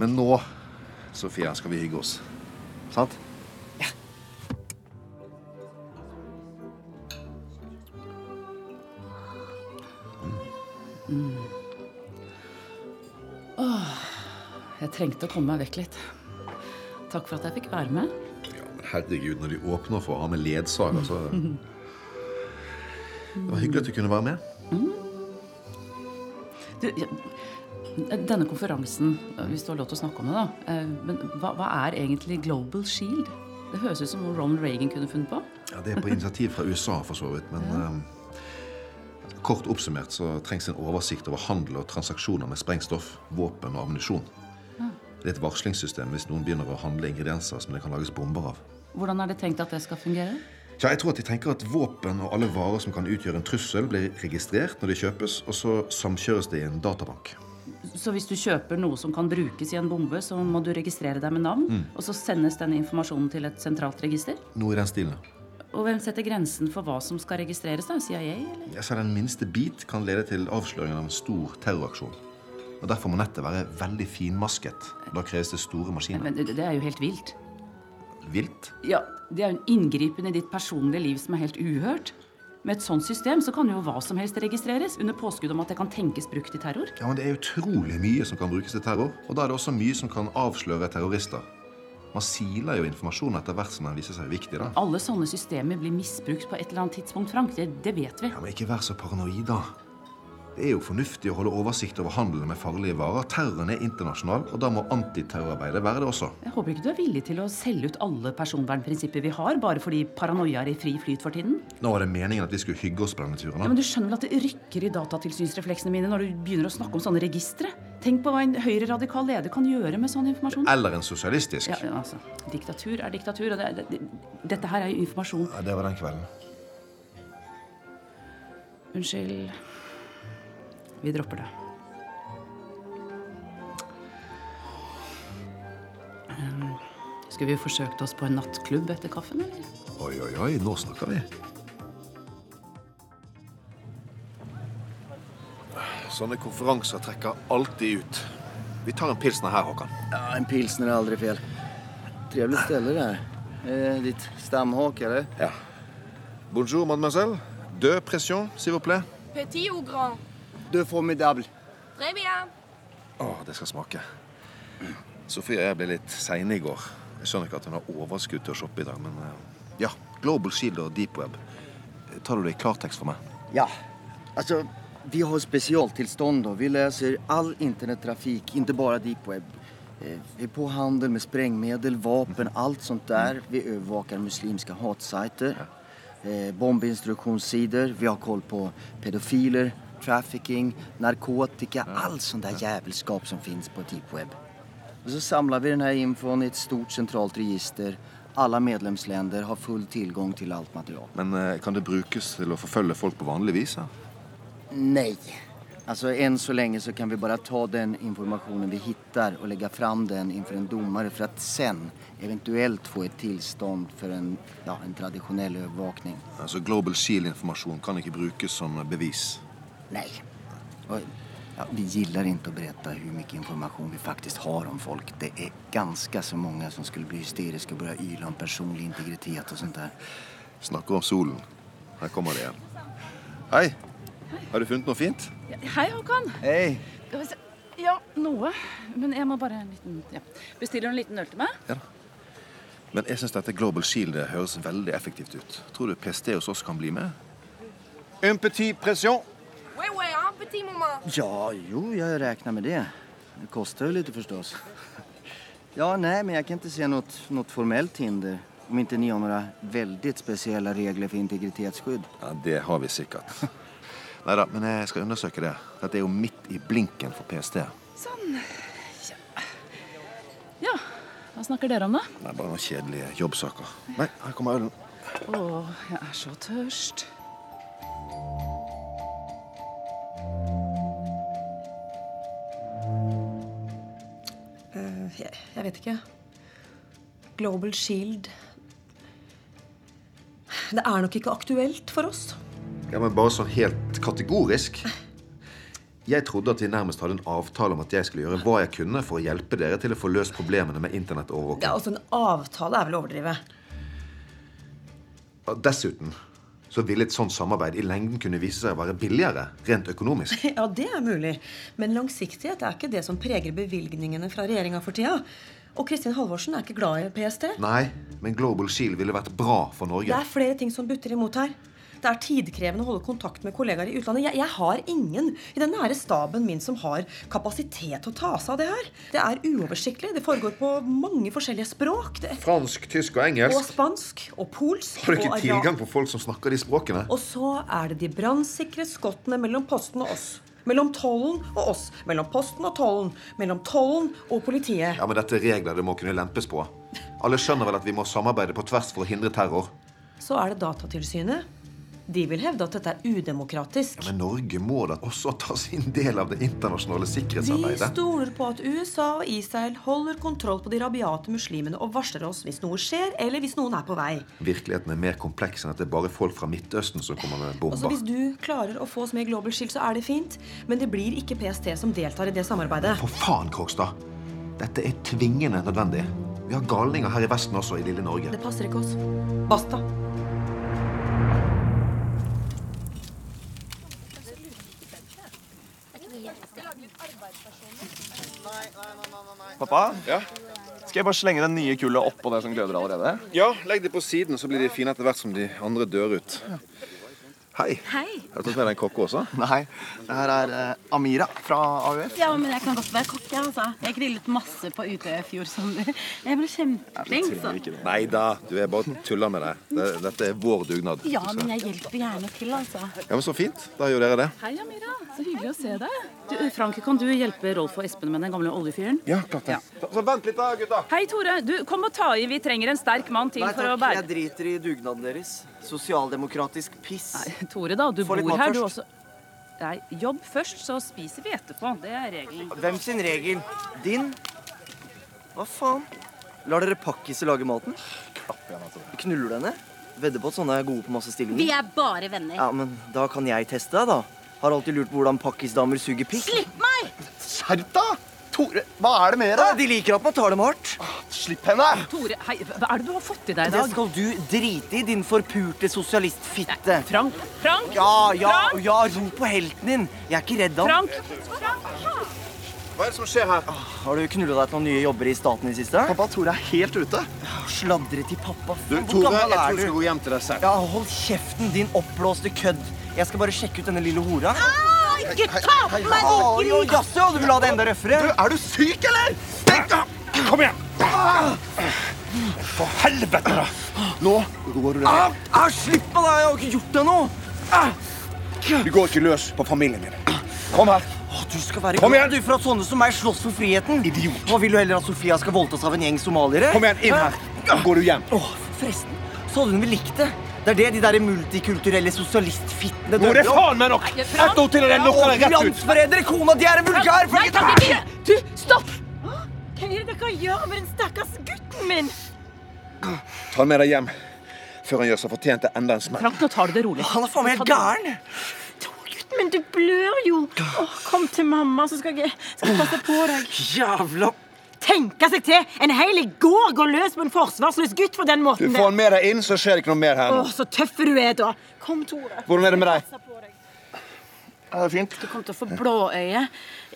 Speaker 9: Men nå, Sofia, skal vi hygge oss. Sant?
Speaker 11: Mm. Åh, jeg trengte å komme meg vekk litt. Takk for at jeg fikk være med.
Speaker 9: Men herregud, når de åpner for å ha med ledsager, så Det var hyggelig at du kunne være med.
Speaker 11: Du, ja, denne konferansen, hvis du har lov til å snakke om det, da. eh, Men hva, hva er egentlig Global Shield? Det høres ut som noe Ronald Reagan kunne funnet på.
Speaker 9: Ja, Det er på initiativ fra USA, for så vidt. Men eh, kort oppsummert så trengs en oversikt over handel og transaksjoner med sprengstoff, våpen og ammunisjon.
Speaker 11: Ja.
Speaker 9: Det er et varslingssystem hvis noen begynner å handle ingredienser som det kan lages bomber av.
Speaker 11: Hvordan er det tenkt at det skal fungere?
Speaker 9: Ja, jeg tror at De tenker at våpen og alle varer som kan utgjøre en trussel, blir registrert når de kjøpes, og så samkjøres det i en databank.
Speaker 11: Så hvis du kjøper noe som kan brukes i en bombe, så må du registrere deg med navn,
Speaker 9: Mm.
Speaker 11: og så sendes denne informasjonen til et sentralt register?
Speaker 9: Noe i den stilen.
Speaker 11: Og hvem setter grensen for hva som skal registreres? da? CIA? eller?
Speaker 9: Jeg sa Den minste bit kan lede til avsløringen av en stor terroraksjon. Og Derfor må nettet være veldig finmasket. Da kreves det store maskiner.
Speaker 11: Men det det er jo helt vilt.
Speaker 9: Vilt.
Speaker 11: Ja, Det er jo en inngripen i ditt personlige liv som er helt uhørt. Med et sånt system så kan jo hva som helst registreres, under påskudd om at det kan tenkes brukt i terror.
Speaker 9: Ja, men Det er utrolig mye som kan brukes til terror. Og da er det også mye som kan avsløre terrorister. Man siler jo informasjon etter hvert som den viser seg viktig. da.
Speaker 11: Alle sånne systemer blir misbrukt på et eller annet tidspunkt, Frank. Det, det vet vi.
Speaker 9: Ikke vær så paranoid, da. Det er jo fornuftig å holde oversikt over handelen med farlige varer. Terroren er internasjonal, og da må antiterrorarbeidet være det også.
Speaker 11: Jeg håper ikke du er villig til å selge ut alle personvernprinsipper vi har, bare fordi paranoia er i fri flyt for tiden?
Speaker 9: Nå var det meningen at vi skulle hygge oss på denne turen.
Speaker 11: Ja,
Speaker 9: da.
Speaker 11: men Du skjønner vel at det rykker i datatilsynsrefleksene mine når du begynner å snakke om sånne registre? Tenk på hva en høyreradikal leder kan gjøre med sånn informasjon.
Speaker 9: Eller en sosialistisk.
Speaker 11: Ja, ja, altså, Diktatur er diktatur, og det, er- det, det, dette her er jo informasjon.
Speaker 9: Ja, det var den kvelden.
Speaker 11: Unnskyld. Vi dropper det. Um, Skulle vi forsøkt oss på en nattklubb etter kaffen, eller?
Speaker 9: Oi, oi, oi, nå snakker vi. Sånne konferanser trekker alltid ut. Vi tar en pilsner her, Håkan.
Speaker 21: Ja, en pilsner er aldri fel. Trevligt ställe det här. Eh, ditt stamhak, eller?
Speaker 9: Ja. Bonjour, mademoiselle. Deux pression, s'il vous plaît.
Speaker 22: Petit ou grand?
Speaker 21: Du får medalj.
Speaker 22: Très bien.
Speaker 9: Å, det skal smake. Sofie og jeg ble litt seine i går. Jeg skjønner ikke at hun har overskudd til å shoppe i dag, men eh, ja. Global Shield og Deep Web. Tar du det i klartekst for meg?
Speaker 21: Ja, alltså vi har specialtillstånd då. Vi läser all internettrafik, inte bara deep web. Eh, Vi är på handel med sprängmedel, vapen, allt sånt där. Vi övervakar muslimska hatsajter, eh, bombinstruktionssidor. Vi har koll på pedofiler, trafficking, narkotika, all sån där jävelskap som finns på deep web. Och så samlar vi den här infon i ett stort centralt register. Alla medlemsländer har full tillgång till allt material.
Speaker 9: Men eh, kan det brukes til å forfølge folk på vanlig vis? Ja?
Speaker 21: Nej. Alltså än så länge så kan vi bara ta den informationen vi hittar och lägga fram den inför en domare för att sen eventuellt få ett tillstånd för en, ja, en traditionell övervakning.
Speaker 9: Altså, Global Shield-informasjon kan ikke brukes som bevis.
Speaker 21: Nej. Och, ja, vi gillar inte att berätta hur mycket information vi faktiskt har om folk. Det är ganska så många som skulle bli hysteriska och börja yla om personlig integritet och sånt där.
Speaker 9: Snakker om solen. Her kommer det igjen. Hei! Har du funnet noe fint?
Speaker 11: Ja, Hei, Håkan.
Speaker 9: Hei.
Speaker 11: Skal vi se. Ja, noe. Men jeg må bare en liten ja. Bestiller du en liten øl til meg?
Speaker 9: Men jeg syns dette Global Shield høres veldig effektivt ut. Tror du PST hos oss kan bli med? Un petit pression.
Speaker 22: Ouais, ouais, un petit moment.
Speaker 21: Ja, jo, jag räknar med det. Det kostar ju lite förstås. Ja, nej, men jag kan inte se något, något formellt hinder. Om inte ni har några väldigt speciella regler för integritetsskydd.
Speaker 9: Ja, det har vi sikkert. *laughs* Nei da, men jeg skal undersøke det. Dette er jo midt i blinken for PST.
Speaker 11: Sånn. Ja. ja. Hva snakker dere om, da?
Speaker 9: Det er bare noen kjedelige jobbsaker. Nei, her kommer ølen.
Speaker 11: Å, jeg er så tørst.
Speaker 23: Eh, jeg, jeg vet ikke. Global Shield Det er nok ikke aktuelt for oss.
Speaker 9: Ja, men Bare sånn helt kategorisk. Jeg trodde at vi nærmest hadde en avtale om at jeg skulle gjøre hva jeg kunne for å hjelpe dere til å få løst problemene med internettovervåking.
Speaker 23: Det er også altså, En avtale er vel å overdrive.
Speaker 9: Og Dessuten så ville et sånt samarbeid i lengden kunne vise seg å være billigere rent økonomisk.
Speaker 23: *laughs* Ja, det er mulig. Men langsiktighet er ikke det som preger bevilgningene fra regjeringa for tida. Og Kristin Halvorsen er ikke glad i PST.
Speaker 9: Nei, men Global Shield ville vært bra for
Speaker 23: Det
Speaker 9: Norge.
Speaker 23: er flere ting som butter imot her. Det er tidkrevende å holde kontakt med kollegaer i utlandet. Jeg, jeg har ingen i den nære staben min som har kapasitet til å ta seg av det her. Det er uoversiktlig. Det foregår på mange forskjellige språk. Det,
Speaker 9: Fransk, tysk og
Speaker 23: og
Speaker 9: engelsk.
Speaker 23: spansk og polsk.
Speaker 9: Har du ikke
Speaker 23: og ara-
Speaker 9: tilgang på folk som snakker de språkene?
Speaker 23: Og så er det de brannsikre skottene mellom posten og oss. Mellom tollen og oss. Mellom posten og tollen. Mellom tollen og politiet.
Speaker 9: Ja, men Dette er regler det må kunne lempes på. Alle skjønner vel at vi må samarbeide på tvers for å hindre terror.
Speaker 23: Så er det Datatilsynet. De vil hevde at dette er udemokratisk.
Speaker 9: Ja, Men Norge må da også ta sin del av det internasjonale
Speaker 23: Vi
Speaker 9: sikkerhetsarbeidet.
Speaker 23: stoler på at USA og Israel holder kontroll på de rabiate muslimene og varsler oss hvis noe skjer, eller hvis noen er på vei.
Speaker 9: Virkeligheten er mer kompleks enn at det er bare folk fra Midtøsten som kommer med
Speaker 23: Altså,
Speaker 9: bomber.
Speaker 23: hvis du klarer å få oss med i Global Shield, så er det fint. Men det blir ikke PST som deltar i det samarbeidet.
Speaker 9: For faen, Krogstad! Dette er tvingende nødvendig. Vi har galninger her i Vesten også, i lille Norge.
Speaker 23: Det passer ikke oss. Basta.
Speaker 24: Pappa? Skal jeg bare slenge den nye kulda oppå det som gløder allerede?
Speaker 9: Ja, legg de på siden, så blir de fine etter hvert som de andre dør ut. Hei.
Speaker 25: Hei.
Speaker 9: Har du tatt med deg en kokke også?
Speaker 16: Nei. Det her er eh, Amira fra AUF.
Speaker 25: Ja, men jeg kan godt være kokk, jeg, altså. Jeg grillet masse på Utøya i fjor sommer. Jeg ble kjempeflink. Så.
Speaker 9: Nei da, du er bare tuller med deg. Det- Dette er vår dugnad.
Speaker 25: Ja, men jeg hjelper gjerne til, altså.
Speaker 9: Ja, men Så fint. Da gjør dere det.
Speaker 11: Hei, Amira. Så hyggelig å se deg. Du, Frank, kan du hjelpe Rolf og Espen med den gamle oljefyren?
Speaker 9: Ja, klart det.
Speaker 16: Så vent litt da, gutta.
Speaker 11: Hei, Tore. Du, kom og ta i. Vi trenger en sterk mann til
Speaker 16: Nei
Speaker 11: for å
Speaker 16: takk, jeg
Speaker 11: bære
Speaker 16: driter i dugnaden deres. Sosialdemokratisk piss.
Speaker 11: Nei, Tore, da. Du
Speaker 16: Få litt
Speaker 11: bor
Speaker 16: mat
Speaker 11: her,
Speaker 16: først.
Speaker 11: du også. Nei, jobb først, så spiser vi etterpå. Det er regelen.
Speaker 16: Hvem sin regel? Din? Hva faen? Lar dere pakkise lage maten?
Speaker 10: altså.
Speaker 16: Knuller du henne? Vedder på at sånne er gode på masse stillinger.
Speaker 25: Vi er bare venner.
Speaker 16: Ja, men da kan jeg teste deg, da. Har alltid lurt på hvordan pakkisdamer suger pikk.
Speaker 25: Slipp meg!
Speaker 16: Skjerp deg! Tore, hva er det med deg? De liker at man tar dem hardt. Slipp henne!
Speaker 11: Tore, hei, hva er det du har fått i deg i
Speaker 16: Det
Speaker 11: dag?
Speaker 16: skal du drite i, din forpurte sosialistfitte.
Speaker 11: Frank! Frank!
Speaker 16: Ja, ja, ja, ro på helten din. Jeg er ikke redd han. Hva er det som skjer her? Har du knulla deg til noen nye jobber i staten i det siste? Pappa, Tore er helt ute. Sladre til pappa.
Speaker 18: Du,
Speaker 16: Faen, hvor
Speaker 18: Tore,
Speaker 16: gammel
Speaker 18: jeg
Speaker 16: er
Speaker 18: tror du skal gå hjem til deg selv.
Speaker 16: Ja, hold kjeften, din oppblåste kødd. Jeg skal bare sjekke ut denne lille hora.
Speaker 11: Ah!
Speaker 18: ikke ta på meg den
Speaker 16: Å, jo, Jaså, du vil ha det enda røffere? Du, er du syk, eller? Stikk av! Kom igjen!
Speaker 18: For helvete, da! Nå går du
Speaker 16: Au,
Speaker 18: ned.
Speaker 16: au, slipp meg, da! Jeg har ikke gjort deg noe!
Speaker 18: Du går ikke løs på familien min. Kom her.
Speaker 16: Du skal være
Speaker 18: Kom
Speaker 16: glad, Du, for at sånne som meg slåss for friheten. Idiot. Hva vil du heller at Sofia skal voldtas av en gjeng somaliere?
Speaker 18: Kom igjen, inn her. Nå går du hjem.
Speaker 16: Åh, forresten. Så hadde hun vel likt det? Det er det de der multikulturelle sosialistfittene
Speaker 18: Nå er det faen meg nok! Ett ord til, og det knocker deg rett ut.
Speaker 16: Landsforrædere, kona di er en vulgær
Speaker 25: Nei, takk,
Speaker 16: forræder!
Speaker 25: ikke! Du, stopp! Hva er det dere gjør med den stakkars gutten min?
Speaker 9: Ta han med deg hjem før han gjør seg fortjent til enda en smell.
Speaker 11: Frank, nå tar du det rolig.
Speaker 16: Han er faen meg helt gæren.
Speaker 25: Gutten min, du blør jo. Åh, kom til mamma, så skal jeg, skal jeg passe på deg.
Speaker 16: Jævla
Speaker 25: Tenke seg til! En hel gård går løs på en forsvarsløs gutt på den
Speaker 18: Du
Speaker 25: måten.
Speaker 18: får han med deg inn, så skjer det ikke noe mer her
Speaker 25: Å,
Speaker 18: nå.
Speaker 25: så tøff du er, da. Kom, Tore.
Speaker 18: Hvordan er det med deg?
Speaker 16: Er det fint?
Speaker 25: Du kom til å få blåøye.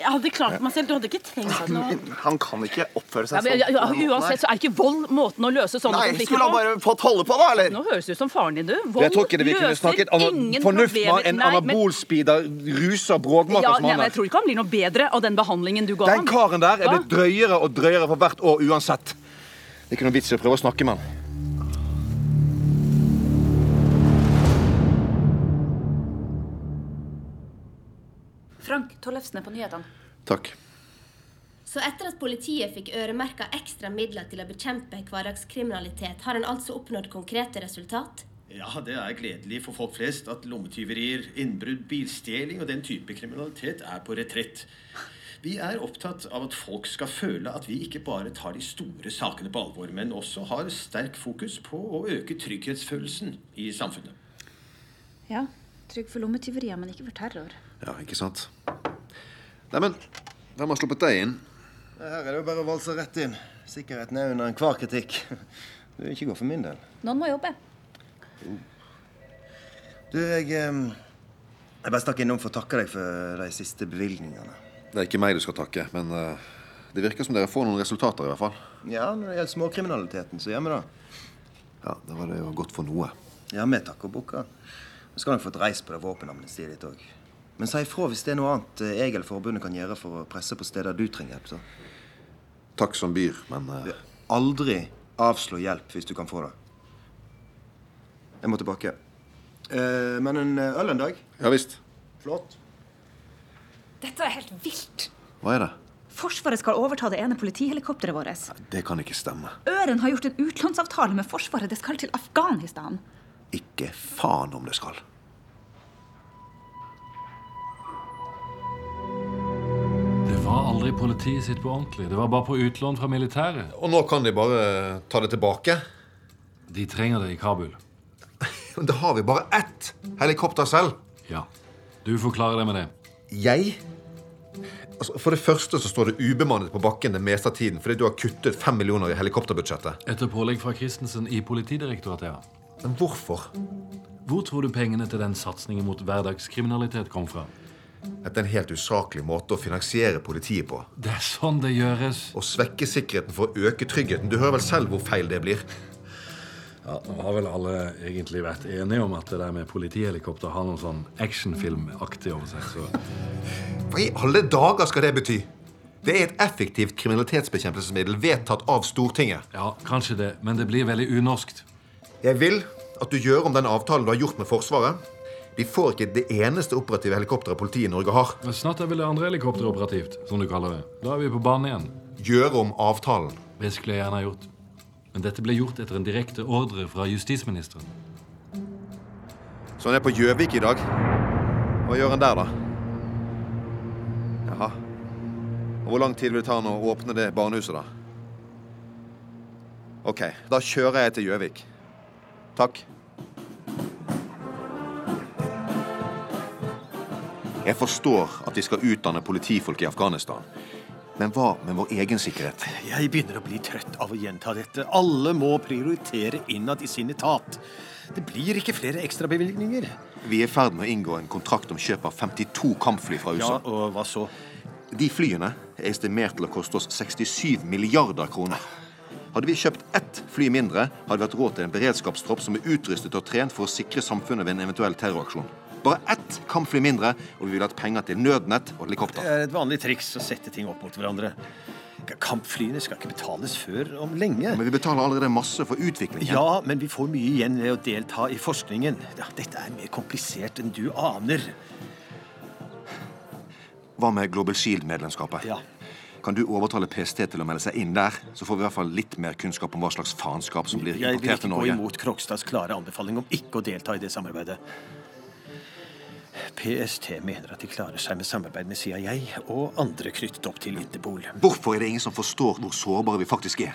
Speaker 25: Jeg hadde klart meg selv. Du hadde ikke trengt noe.
Speaker 16: Han kan ikke oppføre
Speaker 18: altså,
Speaker 16: sånn
Speaker 11: Ja, men, ja, ja, uansett sånn så er ikke vold måten å løse sånne
Speaker 18: Nei,
Speaker 11: konflikter
Speaker 18: skulle han bare fått holde på, da, eller?
Speaker 11: Nå høres du ut som faren din, du. Vold
Speaker 9: Jeg tror ikke det vi kunne
Speaker 11: løser
Speaker 9: snakket om
Speaker 11: ingen
Speaker 9: fornuft
Speaker 11: problemer.
Speaker 9: med en
Speaker 11: Nei, men-
Speaker 9: anabolspeeder, ruser, bråkmaker
Speaker 11: Ja,
Speaker 9: som
Speaker 11: nei,
Speaker 9: han
Speaker 11: men jeg
Speaker 9: er.
Speaker 11: tror ikke han blir noe bedre av den behandlingen du ga
Speaker 9: Den
Speaker 11: ham.
Speaker 9: karen der er
Speaker 11: Hva?
Speaker 9: blitt drøyere og drøyere for hvert år uansett. Det er ikke noen vits i å prøve å snakke med han.
Speaker 19: Frank Tollefsen er på nyhetene.
Speaker 9: Takk.
Speaker 7: Så etter at politiet fikk øremerka ekstra midler til å bekjempe hverdagskriminalitet, har en altså oppnådd konkrete resultat?
Speaker 12: Ja, det er gledelig for folk flest at lommetyverier, innbrudd, bilstjeling og den type kriminalitet er på retrett. Vi er opptatt av at folk skal føle at vi ikke bare tar de store sakene på alvor, men også har sterk fokus på å øke trygghetsfølelsen i samfunnet.
Speaker 19: Ja, trygg for lommetyverier, men ikke for terror.
Speaker 9: Ja, ikke sant? Neimen, hvem har sluppet deg inn?
Speaker 18: Her er det jo bare å valse rett inn. Sikkerheten er under enhver kritikk. Du, ikke gå for min del.
Speaker 19: Noen må jobbe.
Speaker 18: Du, jeg eh, Jeg bare stakk innom for å takke deg for de siste bevilgningene.
Speaker 9: Det er ikke meg du skal takke, men eh, det virker som dere får noen resultater, i hvert fall.
Speaker 18: Ja, når det gjelder småkriminaliteten, så gjør vi det.
Speaker 9: Ja, Da var det jo godt for noe.
Speaker 18: Ja, vi takker Bukka. Du skal nok få et reis på det våpenamnestiet ditt òg. Men si ifra hvis det er noe annet eh, jeg eller forbundet kan gjøre for å presse på steder du trenger hjelp. så.
Speaker 9: Takk som byr, men eh,
Speaker 18: Aldri avslå hjelp hvis du kan få det. Jeg må tilbake. Eh, men en øl en dag?
Speaker 9: Ja visst.
Speaker 18: Flott.
Speaker 19: Dette er helt vilt.
Speaker 9: Hva er det?
Speaker 19: Forsvaret skal overta det ene politihelikopteret vårt.
Speaker 9: Det kan ikke stemme.
Speaker 19: Øren har gjort en utlånsavtale med Forsvaret. Det skal til Afghanistan.
Speaker 9: Ikke faen om det skal.
Speaker 15: Det var aldri politiet sitt på ordentlig. Det var bare på utlån fra militæret.
Speaker 26: Og nå kan de bare ta det tilbake.
Speaker 15: De trenger det i Kabul.
Speaker 26: *laughs* Men da har vi bare ett helikopter selv.
Speaker 15: Ja. Du forklarer det med det.
Speaker 26: Jeg? Altså, for det første så står det ubemannet på bakken det meste av tiden fordi du har kuttet fem millioner i helikopterbudsjettet.
Speaker 15: Etter pålegg fra Christensen i Politidirektoratet, ja.
Speaker 26: Men hvorfor?
Speaker 15: Hvor tror du pengene til den satsingen mot hverdagskriminalitet kom fra?
Speaker 26: Etter en helt usaklig måte å finansiere politiet på.
Speaker 15: Det er sånn det gjøres.
Speaker 26: Å svekke sikkerheten for å øke tryggheten. Du hører vel selv hvor feil det blir?
Speaker 15: Ja, Nå har vel alle egentlig vært enige om at det der med politihelikopter har noe sånn actionfilmaktig over seg. så...
Speaker 9: Hva i alle dager skal det bety? Det er et effektivt kriminalitetsbekjempelsesmiddel vedtatt av Stortinget.
Speaker 15: Ja, kanskje det, men det blir veldig unorskt.
Speaker 9: Jeg vil at du gjør om den avtalen du har gjort med Forsvaret. De får ikke det eneste operative helikopteret politiet i Norge har.
Speaker 15: Men Snart er vel det andre helikopteret operativt, som du kaller det. Da er vi på banen igjen.
Speaker 9: Gjør om avtalen.
Speaker 15: Det skulle jeg gjerne ha gjort. Men dette ble gjort etter en direkte ordre fra justisministeren.
Speaker 9: Så han er på Gjøvik i dag. Hva gjør han der, da? Jaha. Og Hvor lang tid vil det ta nå å åpne det barnehuset, da? OK, da kjører jeg til Gjøvik. Takk. Jeg forstår at de skal utdanne politifolk i Afghanistan. Men hva med vår egen sikkerhet?
Speaker 12: Jeg begynner å bli trøtt av å gjenta dette. Alle må prioritere innad i sin etat. Det blir ikke flere ekstrabevilgninger.
Speaker 9: Vi er i ferd med å inngå en kontrakt om kjøp av 52 kampfly fra USA.
Speaker 12: Ja, og hva så?
Speaker 9: De flyene er estimert til å koste oss 67 milliarder kroner. Hadde vi kjøpt ett fly mindre, hadde vi hatt råd til en beredskapstropp som er utrustet og trent for å sikre samfunnet ved en eventuell terroraksjon. Bare ett kampfly mindre, og vi ville hatt penger til nødnett og helikopter.
Speaker 12: Det er et vanlig triks å sette ting opp mot hverandre. Kampflyene skal ikke betales før om lenge.
Speaker 9: Men vi betaler allerede masse for utviklingen.
Speaker 12: Ja, men vi får mye igjen ved å delta i forskningen. Ja, dette er mer komplisert enn du aner.
Speaker 9: Hva med Global Shield-medlemskapet? Kan du overtale PST til å melde seg inn der, så får vi i hvert fall litt mer kunnskap om hva slags faenskap som blir
Speaker 12: Jeg vil
Speaker 9: importert
Speaker 12: ikke
Speaker 9: til
Speaker 12: gå
Speaker 9: Norge?
Speaker 12: imot Krokstads klare anbefaling om ikke å delta i det samarbeidet. PST mener at de klarer seg med samarbeid med CIA og andre knyttet opp til Interpol.
Speaker 9: Hvorfor er det ingen som forstår hvor sårbare vi faktisk er?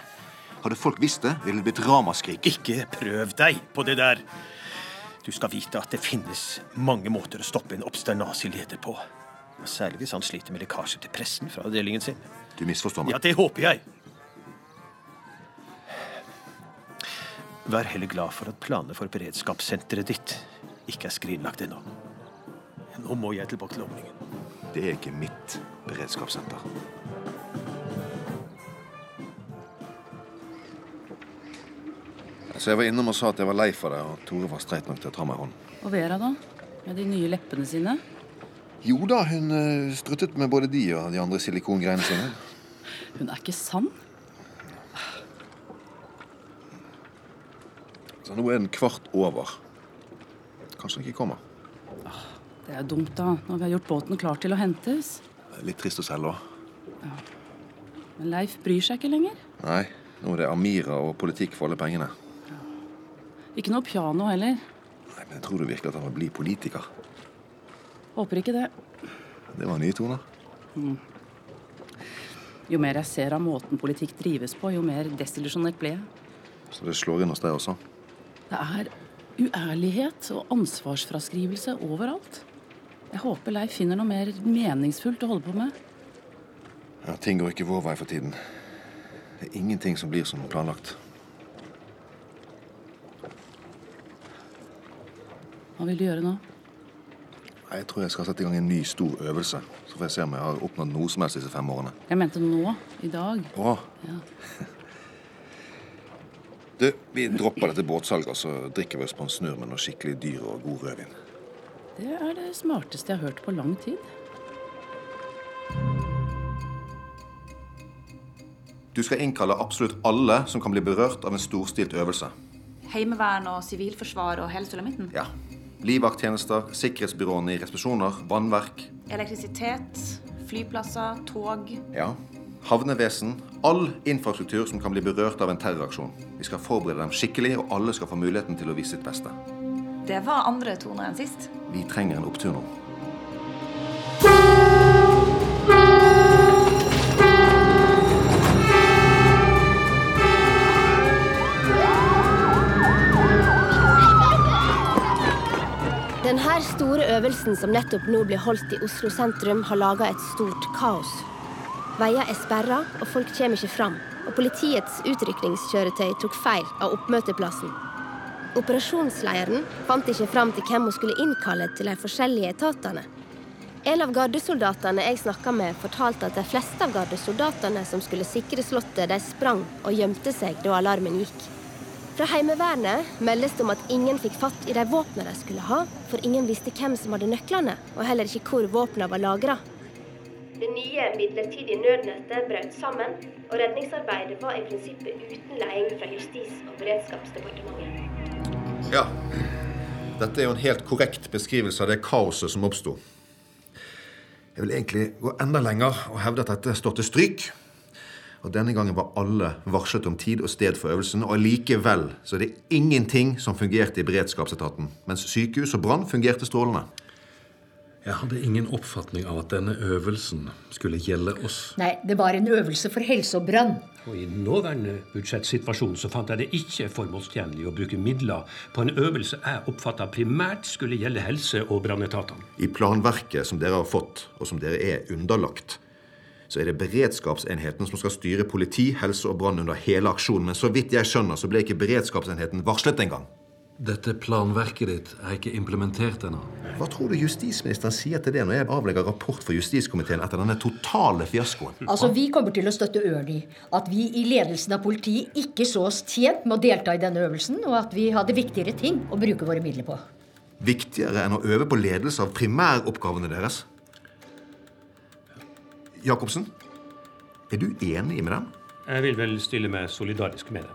Speaker 9: Hadde folk visst det, ville det blitt ramaskrik.
Speaker 12: Ikke prøv deg på det der! Du skal vite at det finnes mange måter å stoppe en obsternasig leder på. Og Særlig hvis han sliter med lekkasjer til pressen fra avdelingen sin.
Speaker 9: Du misforstår
Speaker 12: Ja, det håper jeg. Vær heller glad for at planene for beredskapssenteret ditt ikke er skrinlagt ennå. Nå må jeg tilbake til omringen.
Speaker 9: Det er ikke mitt beredskapssenter. Så Altså, jeg var innom og sa at jeg var lei for det, og Tore var streit nok til å ta meg i hånden.
Speaker 11: Og Vera, da? Med de nye leppene sine?
Speaker 27: Jo da, hun eh, struttet med både de og de andre silikongreiene sine.
Speaker 11: Hun er ikke sann.
Speaker 27: Så nå er den kvart over. Kanskje den ikke kommer.
Speaker 11: Det er jo dumt, da, når vi har gjort båten klar til å hentes.
Speaker 27: Litt trist oss selv òg.
Speaker 11: Men Leif bryr seg ikke lenger.
Speaker 27: Nei, nå er det Amira og politikk for alle pengene.
Speaker 11: Ikke noe piano heller.
Speaker 27: Nei, men jeg tror du virkelig at han vil bli politiker.
Speaker 11: Håper ikke det.
Speaker 27: Det var nye toner.
Speaker 11: Mm. Jo mer jeg ser av måten politikk drives på, jo mer desillusjonert ble jeg.
Speaker 27: Så det slår inn hos deg også.
Speaker 11: Det er uærlighet og ansvarsfraskrivelse overalt. Jeg håper Leif finner noe mer meningsfullt å holde på med.
Speaker 27: Ja, Ting går ikke vår vei for tiden. Det er ingenting som blir som planlagt.
Speaker 11: Hva vil du gjøre nå?
Speaker 27: Nei, Jeg tror jeg skal sette i gang en ny stor øvelse. Så får jeg se om jeg har oppnådd noe som helst disse fem årene.
Speaker 11: Jeg mente nå. I dag.
Speaker 27: Å,
Speaker 11: Ja.
Speaker 27: du, vi dropper dette båtsalget, og så drikker vi oss på en snurr med noe skikkelig dyr og god rødvin.
Speaker 11: Det er det smarteste jeg har hørt på lang tid.
Speaker 9: Du skal innkalle absolutt alle som kan bli berørt av en storstilt øvelse.
Speaker 19: Heimevern og sivilforsvar og hele sulamitten.
Speaker 9: Ja. Livvakttjenester, sikkerhetsbyråene i resepsjoner, vannverk,
Speaker 19: Elektrisitet, flyplasser, tog.
Speaker 9: ja. havnevesen. All infrastruktur som kan bli berørt av en terroraksjon. Vi skal forberede dem skikkelig, og alle skal få muligheten til å vise sitt beste.
Speaker 19: Det var andre toner enn sist.
Speaker 9: Vi trenger en opptur nå.
Speaker 7: Denne store øvelsen som nettopp nå blir holdt i Oslo sentrum, har laga et stort kaos. Veier er sperra, og folk kommer ikke fram. Og politiets utrykningskjøretøy tok feil av oppmøteplassen. Operasjonslederen fant ikke fram til hvem hun skulle innkalle til de forskjellige etatene. En av gardesoldatene jeg snakka med, fortalte at de fleste av gardesoldatene som skulle sikre Slottet, de sprang og gjemte seg da alarmen gikk. Fra Heimevernet meldes det om at ingen fikk fatt i de våpnene de skulle ha, for ingen visste hvem som hadde nøklene, og heller ikke hvor våpnene var lagra. Det nye midlertidige nødnettet brøt sammen, og redningsarbeidet var i prinsippet uten leding fra Justis- og beredskapsdepartementet.
Speaker 9: Ja. Dette er jo en helt korrekt beskrivelse av det kaoset som oppsto. Jeg vil egentlig gå enda lenger og hevde at dette står til stryk. Og Denne gangen var alle varslet om tid og sted for øvelsen, og likevel så er det ingenting som fungerte i beredskapsetaten, mens sykehus og brann fungerte strålende.
Speaker 15: Jeg hadde ingen oppfatning av at denne øvelsen skulle gjelde oss.
Speaker 13: Nei, det var en øvelse for helse og brann.
Speaker 14: Og I den nåværende budsjettsituasjon så fant jeg det ikke formålstjenlig å bruke midler på en øvelse jeg oppfatta primært skulle gjelde helse- og brannetatene.
Speaker 9: I planverket som dere har fått, og som dere er underlagt, så er det beredskapsenheten som skal styre politi, helse og brann under hele aksjonen. Men så vidt jeg skjønner, så ble ikke beredskapsenheten varslet engang.
Speaker 15: Dette planverket ditt er ikke implementert ennå.
Speaker 9: Hva tror du justisministeren sier til det når jeg avlegger rapport for justiskomiteen etter denne totale fiaskoen?
Speaker 13: Altså, Vi kommer til å støtte Ørni. At vi i ledelsen av politiet ikke så oss tjent med å delta i denne øvelsen, og at vi hadde viktigere ting å bruke våre midler på.
Speaker 9: Viktigere enn å øve på ledelse av primæroppgavene deres? Jacobsen, er du enig med dem?
Speaker 14: Jeg vil vel stille meg solidarisk med dem.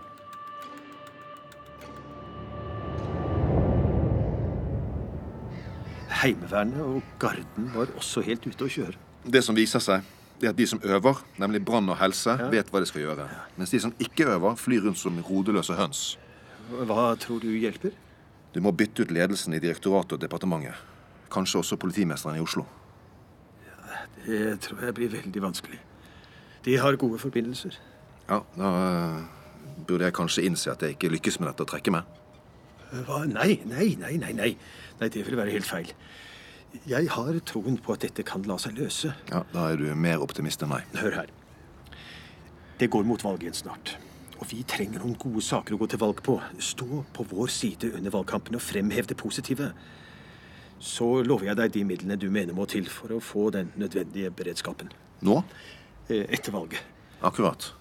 Speaker 12: Heimevernet og Garden var også helt ute å kjøre.
Speaker 9: Det som viser seg, det er at de som øver, nemlig brann og helse, vet hva de skal gjøre. Mens de som ikke øver, flyr rundt som rodeløse høns.
Speaker 12: Hva tror du hjelper?
Speaker 9: Du må bytte ut ledelsen i direktoratet og departementet. Kanskje også politimesteren i Oslo.
Speaker 12: Det tror jeg blir veldig vanskelig. De har gode forbindelser.
Speaker 9: Ja, da eh, burde jeg kanskje innse at jeg ikke lykkes med dette og trekke meg.
Speaker 12: Hva? Nei, nei, nei, nei, nei. Nei, Det vil være helt feil. Jeg har troen på at dette kan la seg løse.
Speaker 9: Ja, Da er du mer optimist enn meg.
Speaker 12: Hør her. Det går mot valg igjen snart. Og vi trenger noen gode saker å gå til valg på. Stå på vår side under valgkampen og fremhev det positive. Så lover jeg deg de midlene du mener må til for å få den nødvendige beredskapen.
Speaker 9: Nå?
Speaker 12: Eh, Etter valget.
Speaker 9: Akkurat.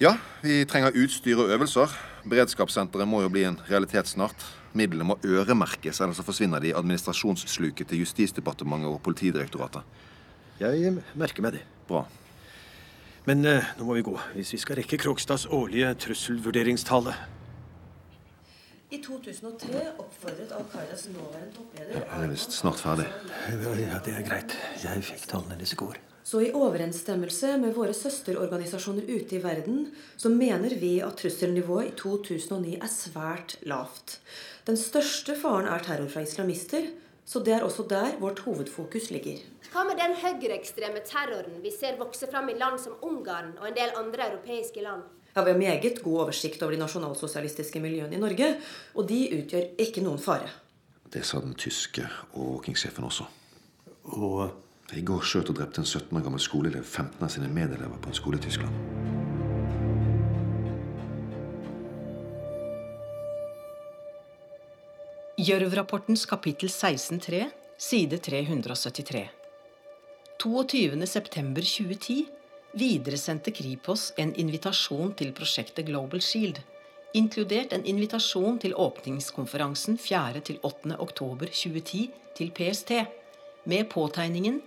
Speaker 9: Ja, vi trenger utstyr og øvelser. Beredskapssenteret må jo bli en realitet snart. Midlene må øremerkes, ellers så forsvinner de i administrasjonssluket til Justisdepartementet og Politidirektoratet.
Speaker 12: Jeg merker meg det.
Speaker 9: Bra.
Speaker 12: Men eh, nå må vi gå, hvis vi skal rekke Krokstads årlige trusselvurderingstale.
Speaker 23: I 2003 oppfordret Al Qaidas nåværende toppleder
Speaker 9: Jeg er visst snart ferdig.
Speaker 12: Ja, det er greit. Jeg fikk tallene deres i går.
Speaker 23: Så i overensstemmelse med våre søsterorganisasjoner ute i verden, så mener vi at trusselnivået i 2009 er svært lavt. Den største faren er terror fra islamister, så det er også der vårt hovedfokus ligger.
Speaker 7: Hva med den høyreekstreme terroren vi ser vokse fram i land som Ungarn og en del andre europeiske land?
Speaker 23: Ja, Vi har meget god oversikt over de nasjonalsosialistiske miljøene i Norge, og de utgjør ikke noen fare.
Speaker 9: Det sa den tyske overvåkingssjefen også.
Speaker 12: Og
Speaker 9: I går skjøt og drepte en 17 år gammel skoleelev 15 av sine medelever på en skole i Tyskland.
Speaker 3: Gjørv-rapportens kapittel 16.3, side 373. 22.9.2010 videresendte Kripos en invitasjon til prosjektet Global Shield, inkludert en invitasjon til åpningskonferansen 4.-8.10.2010 til PST, med påtegningen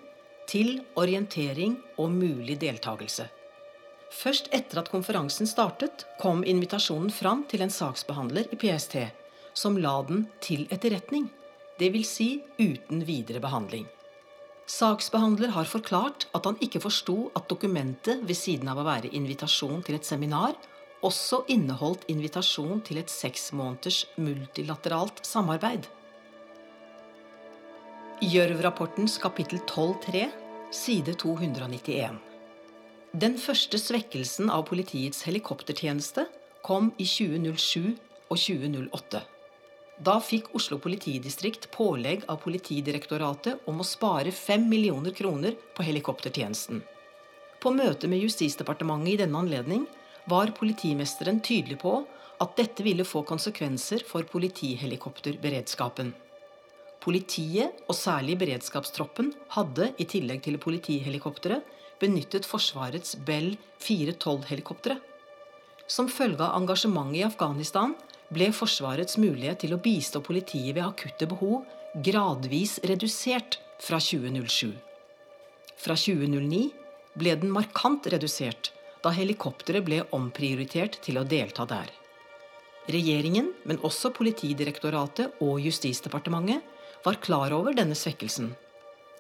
Speaker 3: 'Til orientering og mulig deltakelse'. Først etter at konferansen startet, kom invitasjonen fram til en saksbehandler i PST, som la den til etterretning, dvs. Si uten videre behandling. Saksbehandler har forklart at han ikke forsto at dokumentet ved siden av å være invitasjon til et seminar, også inneholdt invitasjon til et seks måneders multilateralt samarbeid. Gjørv-rapportens kapittel 12.3, side 291. Den første svekkelsen av politiets helikoptertjeneste kom i 2007 og 2008. Da fikk Oslo politidistrikt pålegg av Politidirektoratet om å spare 5 millioner kroner på helikoptertjenesten. På møte med Justisdepartementet i denne anledning var politimesteren tydelig på at dette ville få konsekvenser for politihelikopterberedskapen. Politiet, og særlig beredskapstroppen, hadde i tillegg til politihelikoptre benyttet Forsvarets Bell 412-helikoptre. Som følge av engasjementet i Afghanistan ble Forsvarets mulighet til å bistå politiet ved akutte behov gradvis redusert fra 2007. Fra 2009 ble den markant redusert da helikopteret ble omprioritert til å delta der. Regjeringen, men også Politidirektoratet og Justisdepartementet var klar over denne svekkelsen.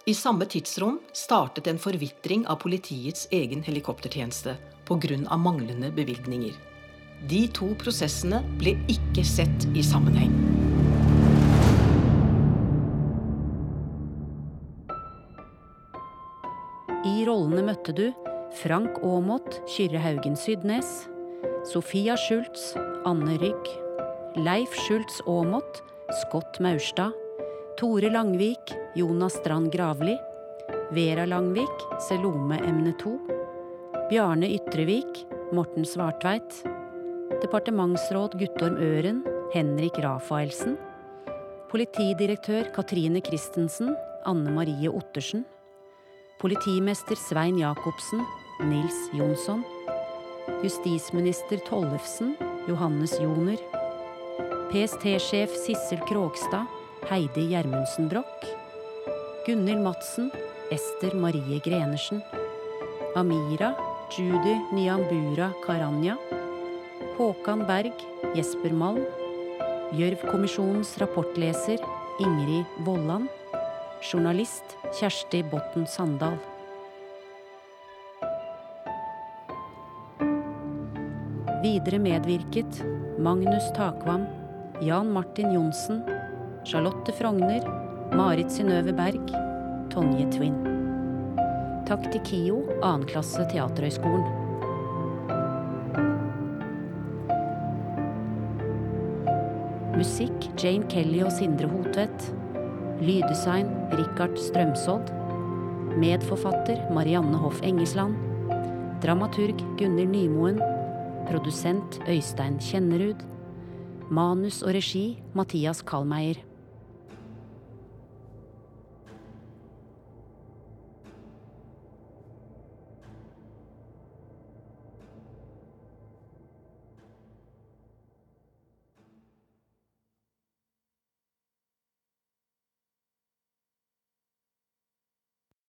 Speaker 3: I samme tidsrom startet en forvitring av politiets egen helikoptertjeneste pga. manglende bevilgninger. De to prosessene ble ikke sett i sammenheng.
Speaker 6: I rollene møtte du Frank Aamodt, Kyrre Haugen Sydnes, Sofia Schultz, Anne Rygg, Leif Schultz Aamodt, Scott Maurstad, Tore Langvik, Jonas Strand Gravli, Vera Langvik, Selome Emne2, Bjarne Ytrevik, Morten Svartveit, departementsråd Guttorm Øren, Henrik Rafaelsen, politidirektør Katrine Christensen, Anne Marie Ottersen, Politimester Svein Jacobsen, Nils Jonsson. Justisminister Tollefsen, Johannes Joner. PST-sjef Sissel Krogstad, Heidi Gjermundsen Broch. Gunhild Madsen, Ester Marie Grenersen. Amira, Judy Nyambura Karanja. Håkan Berg, Jesper Malm. Gjørv-kommisjonens rapportleser, Ingrid Vollan. Journalist Kjersti Botten Sandal. Videre medvirket Magnus Takvam, Jan Martin Johnsen, Charlotte Frogner, Marit Synnøve Berg, Tonje Twin. Takk til KIO, 2. klasse Teaterhøgskolen. Musikk Jane Kelly og Sindre Hotvedt. Lyddesign Richard Strømsodd. Medforfatter Marianne Hoff Engesland. Dramaturg Gunnhild Nymoen. Produsent Øystein Kjennerud. Manus og regi Mathias Kallmeier.